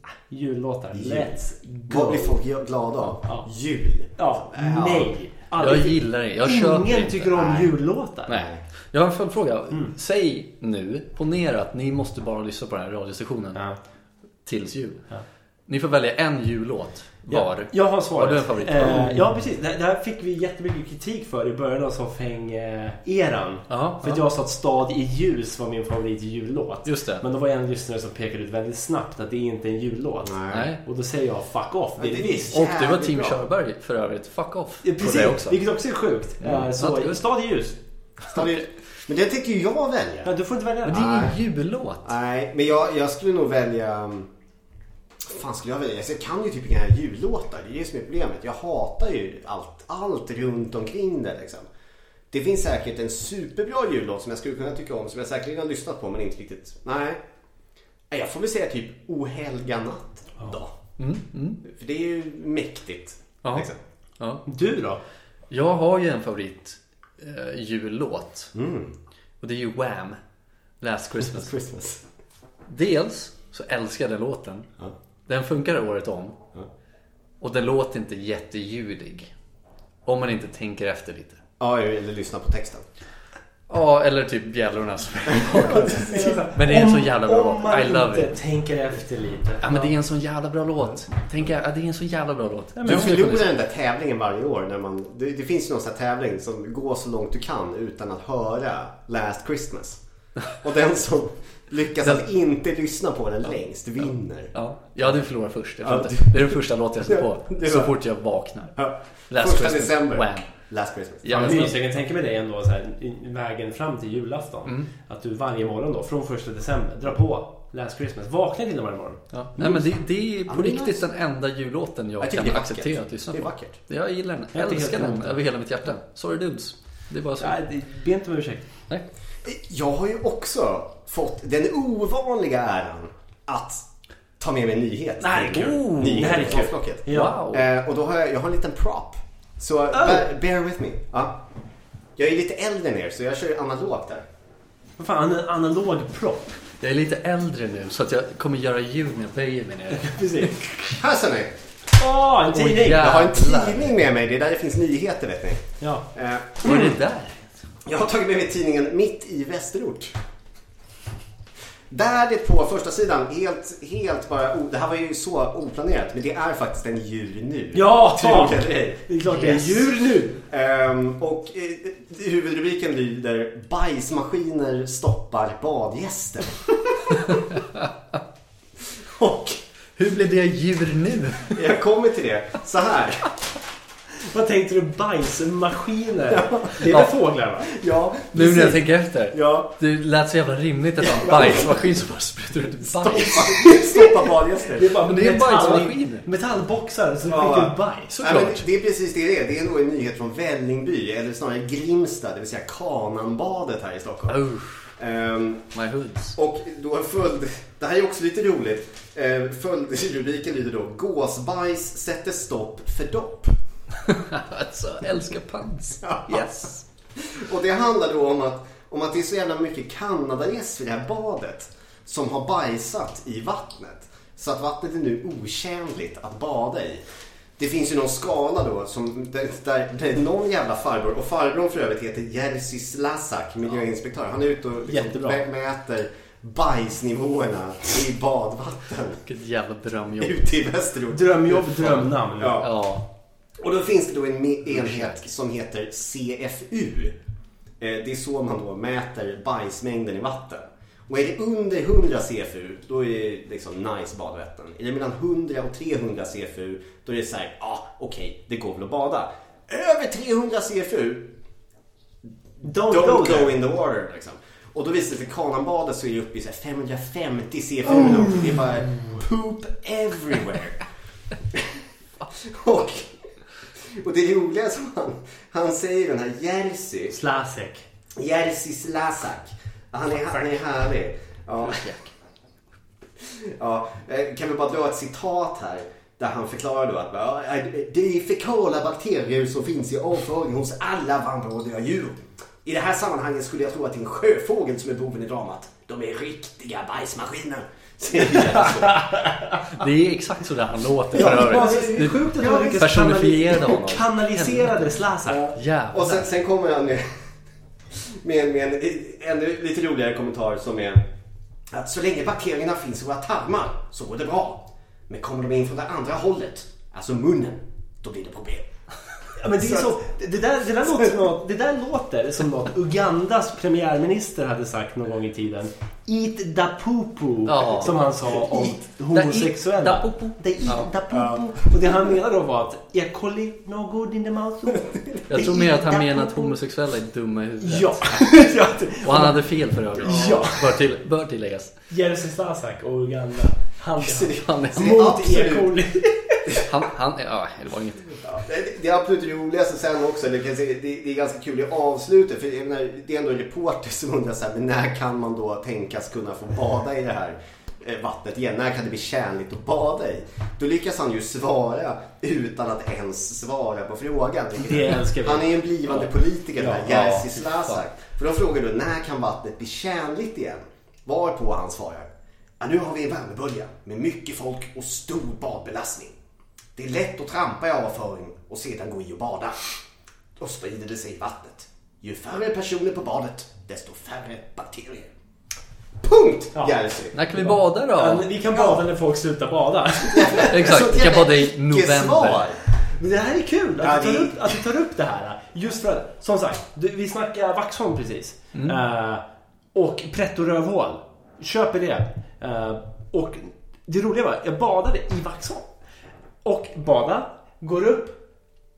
S1: Ah, Jullåtar.
S2: Jul.
S1: Let's go.
S2: Mm. Vad blir folk glada av?
S1: Ja.
S2: Jul.
S1: Ja, nej.
S3: Jag gillar det. Jag köper det
S1: Ingen
S3: inte.
S1: tycker om jullåtar.
S3: Nej. Jag har en följdfråga.
S1: Mm.
S3: Säg nu, ponera att ni måste bara lyssna på den här radiostationen
S1: Ja.
S3: tills jul. Ni får välja en jullåt var.
S1: Jag har
S3: Har du en
S1: svaret.
S3: favorit? Mm.
S1: Eh, ja, precis. Det det här fick vi jättemycket kritik för i början av Soffhäng-eran.
S3: Ja,
S1: För att
S3: ja.
S1: jag sa att Stad i ljus var min favorit jullåt.
S3: Just det.
S1: Men då var jag en lyssnare som pekade ut väldigt snabbt att det är inte en jullåt.
S3: Nej.
S1: Och då säger jag fuck off, det är
S2: Ja,
S1: det
S2: det är
S1: visst.
S2: det.
S3: Och det var
S2: Jävligt
S3: Tim
S2: bra.
S3: Körberg för övrigt. Fuck off.
S1: Ja,
S3: på
S1: Precis,
S3: det också. Mm.
S1: vilket också är sjukt. Eh,
S3: Ja, det
S1: Så
S3: är-
S1: Stad i ljus.
S2: Stabil- Men det tänker ju jag välja.
S1: Ja, du får inte välja
S3: Men
S1: den.
S3: det är ingen jullåt.
S2: Nej, men jag, jag skulle nog välja... um, Vad fan skulle jag välja? Alltså, jag kan ju typ inga jullåtar. Det är ju det som är problemet. Jag hatar ju allt, allt runt omkring det liksom. Det finns säkert en superbra jullåt som jag skulle kunna tycka om. Som jag säkerligen har lyssnat på men inte riktigt... Nej. Nej, Jag får väl säga typ O helga natt då. För det är ju mäktigt.
S3: Ja.
S2: liksom.
S3: Ja.
S1: Du då?
S3: Jag har ju en favorit eh, jullåt.
S1: Mm.
S3: Och det är ju Wham! Last Christmas.
S2: Christmas.
S3: Dels så älskar jag den låten.
S2: Ja.
S3: Den funkar året om. Och den låter inte jättejudig. Om man inte tänker efter lite.
S2: Ja, eller lyssna på texten.
S3: Ja, eller typ bjällrorna som Men det är en
S1: Om-
S3: så jävla bra
S1: Om
S3: låt.
S1: man
S3: I love
S1: inte
S3: it.
S1: tänker efter lite.
S3: Ja, men det är en sån jävla bra låt. Tänk, ja, det är en så jävla bra låt.
S2: Du
S3: skulle kunna-
S2: förlorar den där tävlingen varje år. När man, det, det finns ju någon sån här tävling som går så långt du kan utan att höra Last Christmas. Och den som lyckas att inte lyssna på den längst vinner.
S3: Ja, jag hade förlorat först. Jag
S2: Ja,
S3: fattar.
S2: du-
S3: Det är den första låten jag sätter på.
S2: Ja, det är
S3: Så
S2: bra.
S3: fort jag vaknar.
S2: Ja.
S3: Last
S2: Första
S3: Christmas.
S2: december.
S3: Wham.
S2: Last Christmas.
S1: Ja,
S3: Ja,
S1: men jag kan tänka mig dig ändå så här, i- vägen fram till julafton.
S3: Mm.
S1: Att du varje morgon då, från första december, drar på Last Christmas. Vakna till den varje morgon.
S3: ja. Nej, men det, det är på
S2: men det är
S3: riktigt den enda jullåten jag,
S2: Jag tycker
S3: kan
S2: det är vackert.
S3: acceptera att lyssna
S2: Det är
S3: på.
S2: vackert.
S3: Jag gillar den. Jag
S1: Jag tycker
S3: älskar
S1: helt
S3: den
S1: emot.
S3: över hela mitt hjärta. Sorry dudes. Det är bara så.
S1: Nej, äh, det- Be inte om ursäkt.
S3: Nej.
S2: Jag har ju också fått den ovanliga äran att ta med mig en nyhet.
S1: Det här är kul.
S2: Oh,
S1: Det här är
S2: Nyhet
S1: kul.
S2: från Flocket.
S1: Ja.
S3: Wow.
S2: Eh, och då har jag, jag har en liten prop. Så
S3: Oh.
S2: bear, bear with me. Ja. Jag är lite äldre än er så jag kör ju analogt där.
S1: Vad fan, en analog propp.
S3: Jag är lite äldre nu så att jag kommer göra ljud när jag böjer mig ner.
S1: Precis.
S2: Här ser ni!
S1: Åh, en tidning!
S3: ja.
S2: Jag har en
S3: Jävlar.
S2: tidning med mig. Det är där det finns nyheter vet ni.
S1: Ja.
S2: Eh,
S3: Vad är det där?
S2: Jag har tagit med mig tidningen Mitt i Västerort. Där det på första sidan helt, helt bara... Oh, det här var ju så oplanerat men det är faktiskt en djur nu.
S1: Ja!
S2: Tror jag eller ej.
S1: Det är klart det
S2: Yes.
S1: är jul nu!
S2: Ehm, och eh, huvudrubriken lyder Bajsmaskiner stoppar badgäster. och
S3: Hur blev det djur nu?
S2: jag kommer till det så här.
S1: Vad tänkte du? Bajsmaskiner? Det är väl fåglar va?
S2: Ja,
S3: Nu när jag
S2: precis.
S3: tänker efter.
S2: Ja.
S3: Det lät så jävla rimligt att ha en bajsmaskin som bara sprutar ut bajs.
S2: Stoppa badgäster.
S1: bara
S3: Men det är bajsmaskiner.
S1: Metallboxar som
S2: Ja.
S1: skickar ut bajs.
S2: Nej, men
S3: Såklart.
S2: det är precis det det är. Det är nog en nyhet från Vällingby, eller snarare Grimsta, det vill säga Kananbadet här i Stockholm.
S3: Uff,
S2: Ehm,
S3: my hoods.
S2: och då en följd, det här är också lite roligt, uh, följdrubriken lyder då Gåsbajs sätter stopp för dopp.
S3: Alltså, älskar pants. Yes.
S2: Och det handlar då om att, om att det är så jävla mycket kanadagäss vid det här badet som har bajsat i vattnet. Så att vattnet är nu otjänligt att bada i. Det finns ju någon skala då som, där, där, där någon jävla farbror, och farbrorn för övrigt heter Jerzy Slazak, miljöinspektör. Han är ute och liksom
S1: Jättebra.
S2: mä- mäter bajsnivåerna i badvatten
S3: Vilket jävla drömjobb.
S2: ute i Västerort.
S1: Drömjobb, drömnamn.
S2: Ja.
S3: Ja.
S2: Och då finns det då en me- enhet som heter CFU. Eh, Det är så man då mäter bajsmängden i vatten. Och är det under 100 CFU, då är det liksom nice badvatten. Är det mellan 100 och 300 CFU, då är det så här, ja ah, okej, det går väl att bada. Över 300 CFU,
S1: Don't,
S2: don't
S1: go,
S2: go,
S1: there.
S2: in the water liksom. Och då visar det sig att kananbadet så är det uppe i så här 550 CFU. Oh. Det är bara poop everywhere. och, och det roliga som han, han säger den här Jerzy,
S1: Slasek.
S2: Jerzy Slazak. Han är, han är härlig. Ja. Ja, eh, kan vi bara dra ett citat här. Där han förklarar då att ja, eh, det är fekala bakterier som finns i avföring hos alla vandrande djur. I det här sammanhanget skulle jag tro att det är en sjöfågel som är boven i dramat. De är riktiga bajsmaskiner. Säger jag så.
S3: Det är exakt så där han låter
S2: Ja,
S3: för övrigt.
S1: Det är sjukt att han lyckas
S3: personifierade
S1: kanali-
S3: honom.
S1: kanaliserade Slazak.
S3: Jävlar.
S2: Och sen, sen kommer han med, med, med en ännu lite roligare kommentar som är att så länge bakterierna finns i våra tarmar så går det bra. Men kommer de in från det andra hållet, alltså munnen, då blir det problem.
S1: Ja, men det, är
S2: Så
S1: så, det, där, det, där låter som något, det där låter som något Ugandas premiärminister hade sagt någon gång i tiden. Eat da pupu,
S3: Ja.
S1: som han sa om
S2: Eat
S1: homosexuella.
S3: da pupu.
S1: Da eat
S3: Ja.
S1: da pupu. Och det han menade då var att E. coli no good in the mouth.
S3: Jag tror mer att han
S1: Da
S3: menar att
S1: pupu.
S3: homosexuella är dumma i huvudet.
S1: Ja. ja. typ.
S3: Och han hade fel för övrigt.
S1: Ja.
S3: Bör, till, bör tilläggas.
S1: Jerzy Slazak och Uganda. Han,
S3: Han, är-
S2: det är
S1: mot E.
S2: absolut-
S1: coli.
S3: han, han, ja, det var inget.
S2: Ja, det- Det är absolut roligaste sen också, eller kan jag säga, det det är ganska kul i avslutet, för jag menar, det är ändå en reporter som undrar så här, men när kan man då tänkas kunna få bada i det här eh, vattnet igen? När kan det bli tjänligt att bada i? Då lyckas han ju svara utan att ens svara på frågan.
S1: Det älskar vi.
S2: Han är ju en blivande politiker, den
S3: Ja,
S2: här Jerzy Slazak. För de frågar då, när kan vattnet bli tjänligt igen? Varpå han svarar, ja, nu har vi en värmebölja med mycket folk och stor badbelastning. Det är lätt att trampa i avföring och sedan gå i och bada. Då sprider det sig i vattnet. Ju färre personer på badet, desto färre bakterier. Punkt,
S1: Ja.
S2: Jerzy!
S3: När kan vi bada då?
S1: Vi kan bada när folk slutar bada.
S3: Exakt, vi kan bada i
S2: Vilket
S3: november.
S2: svar!
S1: Men det här är kul att, du,
S2: Ja, det
S1: tar
S2: är-
S1: upp, att du tar upp det här. Just för att, som sagt, du, vi snackade Vaxholm precis.
S2: Mm.
S1: Eh, och Pretto Rövhål. Köper det. Eh, och det roliga var, jag badade i Vaxholm. Och badade, går upp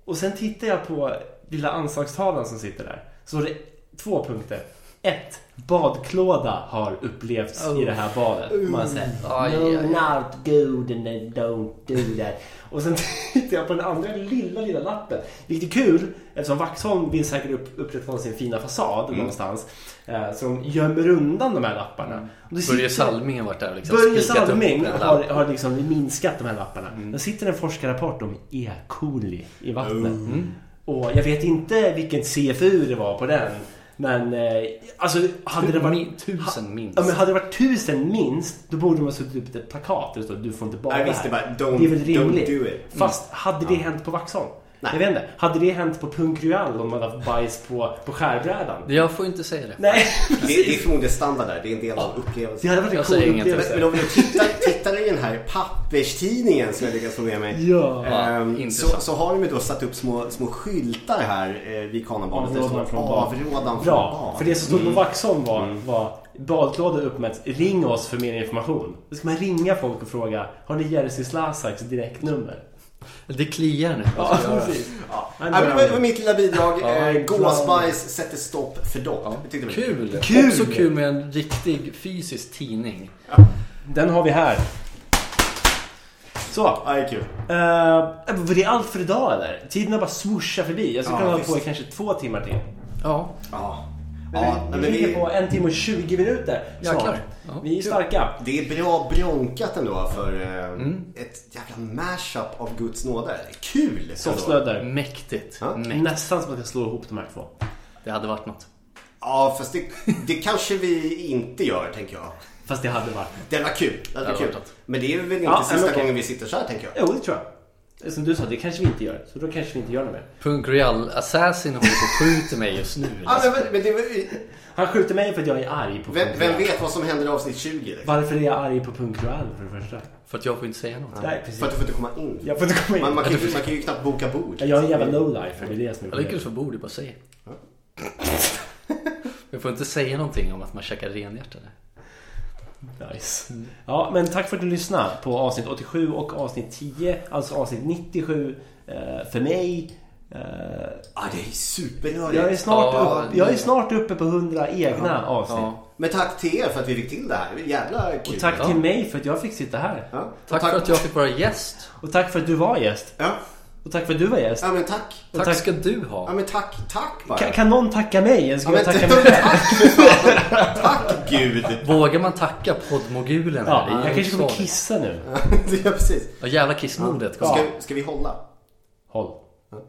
S1: och sen tittar jag på lilla anslagstavlan som sitter där. Så var det två punkter. Ett, badklåda har upplevts i det här badet. Man säger,
S3: Aj,
S1: no,
S3: aj, aj.
S1: not good and they don't do that. Och sen tittade jag på den andra lilla, lilla lappen. Vilket är kul eftersom Vaxholm vill säkert upp, upprätthålla sin fina fasad någonstans. Eh, Så de gömmer undan de här lapparna. Och det sitter-
S3: Börje Salming har varit där och liksom
S1: Börje
S3: spikat upp Mm.
S1: Salming
S3: en lapp.
S1: har, har liksom minskat de här lapparna. Det sitter en forskarrapport om E. coli i vattnet.
S3: Oh. Mm.
S1: Och jag vet inte vilken CFU det var på den. Men eh, alltså hade det
S3: Min-
S1: varit...
S3: tusen
S1: ha-
S3: minst.
S1: Ja, men hade det varit tusen minst, då borde de ha suttit upp ett plakat där det står du får inte bada
S2: Ja, visst,
S1: här."
S2: det bara, "Don't-
S1: Det är väl
S2: don't
S1: rimligt.
S2: do it.
S3: Mm.
S1: Fast hade det hänt på Vaxholm?
S2: Nej.
S1: Jag vet inte. Hade det hänt på Punk Royal om man hade haft bajs på, på skärbrädan?
S3: Jag får inte säga det.
S1: Nej,
S2: Det, det är förmodligen standard där, det är en del av
S1: det
S2: upplevelsen.
S1: hade varit en
S3: Jag
S1: cool
S3: säger ingenting.
S2: Men,
S1: upplevelse.
S2: men om vi tittar, tittar i den här papperstidningen som jag lyckats få med mig.
S1: Ja.
S2: ehm,
S3: Ja, intressant.
S2: så, så har de ju då satt upp små, små skyltar här eh, vid kananbadet. där det står
S1: Avrådan från bad.
S2: Avrådan från Mm.
S1: Bra,
S2: bad.
S1: för det som stod på Vaxholm var, var badlådor uppmätt. Ring oss för mer information. Då ska man ringa folk och fråga, har ni Jerzy Slazaks direktnummer?
S3: Det kliar nu.
S1: Ja, precis.
S2: Ja.
S1: Men
S2: Nej, men
S1: bra.
S2: det var mitt lilla bidrag.
S1: Ja,
S2: eh,
S1: bra.
S2: Gåsbajs sätter stopp för dopp. Det tyckte vi.
S3: Kul!
S1: Kul!
S3: Också kul med en riktig fysisk tidning.
S1: Den har vi här. Så.
S2: Ja, det är kul.
S1: eh, var det allt för idag eller? Tiden har bara swooshat förbi. Jag skulle
S2: Ja,
S1: kunna hålla
S2: visst.
S1: på i kanske två timmar till.
S3: Ja,
S2: Ja.
S1: Men
S2: Ja,
S1: vi,
S2: nej,
S1: vi
S2: men
S1: ligger
S2: vi,
S1: på en timme och 20 minuter snart.
S3: Jäklar. Ja,
S1: vi är starka.
S2: det är bra bronkat ändå för eh, ett jävla mashup av Guds nåde. Kul! ändå.
S1: Soffsnöder.
S3: mäktigt.
S2: Ja.
S3: Mäktigt.
S1: Nästan som att jag slår ihop de här två.
S3: Det hade varit något.
S2: Ja, fast det, det kanske vi inte gör, tänker jag.
S1: Fast det hade varit.
S2: Det var kul. Det var
S3: Det
S2: kul.
S3: var klart.
S2: Men det är väl inte
S1: Ja, men
S2: sista
S1: okej.
S2: gången vi sitter så här, tänker jag.
S1: Jo, det tror jag. Det är Som du sa, det kanske vi inte gör. Så då kanske vi inte gör något mer.
S3: Punk Real Assassin håller på och skjuter mig just nu. alltså.
S2: Ja, men, men det, var-
S1: Han skjuter mig för att jag är arg på
S2: vem,
S1: Punk
S2: vem
S1: Royal.
S2: vet vad som händer i avsnitt 20? Liksom?
S1: Varför är jag arg på Punk Royal för det första?
S3: För att jag får inte säga något.
S1: Nej, precis.
S2: För att du får inte komma in.
S1: Jag får inte komma in.
S2: Man, man, kan, ju- man kan ju knappt boka bord.
S1: Jag är en jävla no-lifer, det är det som är
S3: Jag
S1: problemet.
S3: lyckades få bord, det är bara att säga. Vi får inte säga någonting om att man käkar renhjärtade.
S1: Nice.
S3: Mm.
S1: Ja, men tack för att du lyssnade på avsnitt 87 och avsnitt 10. Alltså avsnitt 97 eh, för mig. Eh,
S2: Ja, det är supernördigt.
S1: jag, är snart
S3: Ja,
S1: upp, jag är snart uppe på 100 egna avsnitt.
S3: Ja.
S2: Men tack till er för att vi fick till det här. Det är Jävla kul.
S1: Och tack
S3: Ja.
S1: till mig för att jag fick sitta här.
S2: Ja. Och
S3: Tack för att jag fick vara gäst.
S1: Och tack för att du var gäst.
S2: Ja.
S1: Och tack för att du var gäst.
S2: ja, men tack.
S1: Och
S3: Tack,
S1: tack-
S3: ska du
S2: Ja,
S3: ha.
S2: men tack. Tack bara.
S1: Kan, kan någon tacka mig? Eller
S2: Ja,
S1: ska
S2: men
S1: jag tacka
S2: tack,
S1: mig själv?
S2: för fan. tack Gud.
S3: Vågar man tacka poddmogulen här? Det är
S1: Ja, jag
S3: ju
S1: kanske kommer
S3: svaret.
S1: kissa nu.
S2: Ja, precis.
S3: Ja, jävla kissmodet. Ska,
S2: Ska, ska vi hålla?
S1: Håll.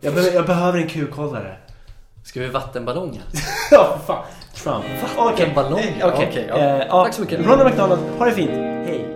S1: Jag, be- jag behöver en kukhållare.
S3: ska vi vattenballonger?
S1: Ja, för fan. Trump. Okej.
S3: Vilken ballong.
S1: Okej.
S3: Okej, ja.
S1: Eh, ja.
S3: Tack så mycket.
S1: Ronald McDonald, ha det fint. Hej.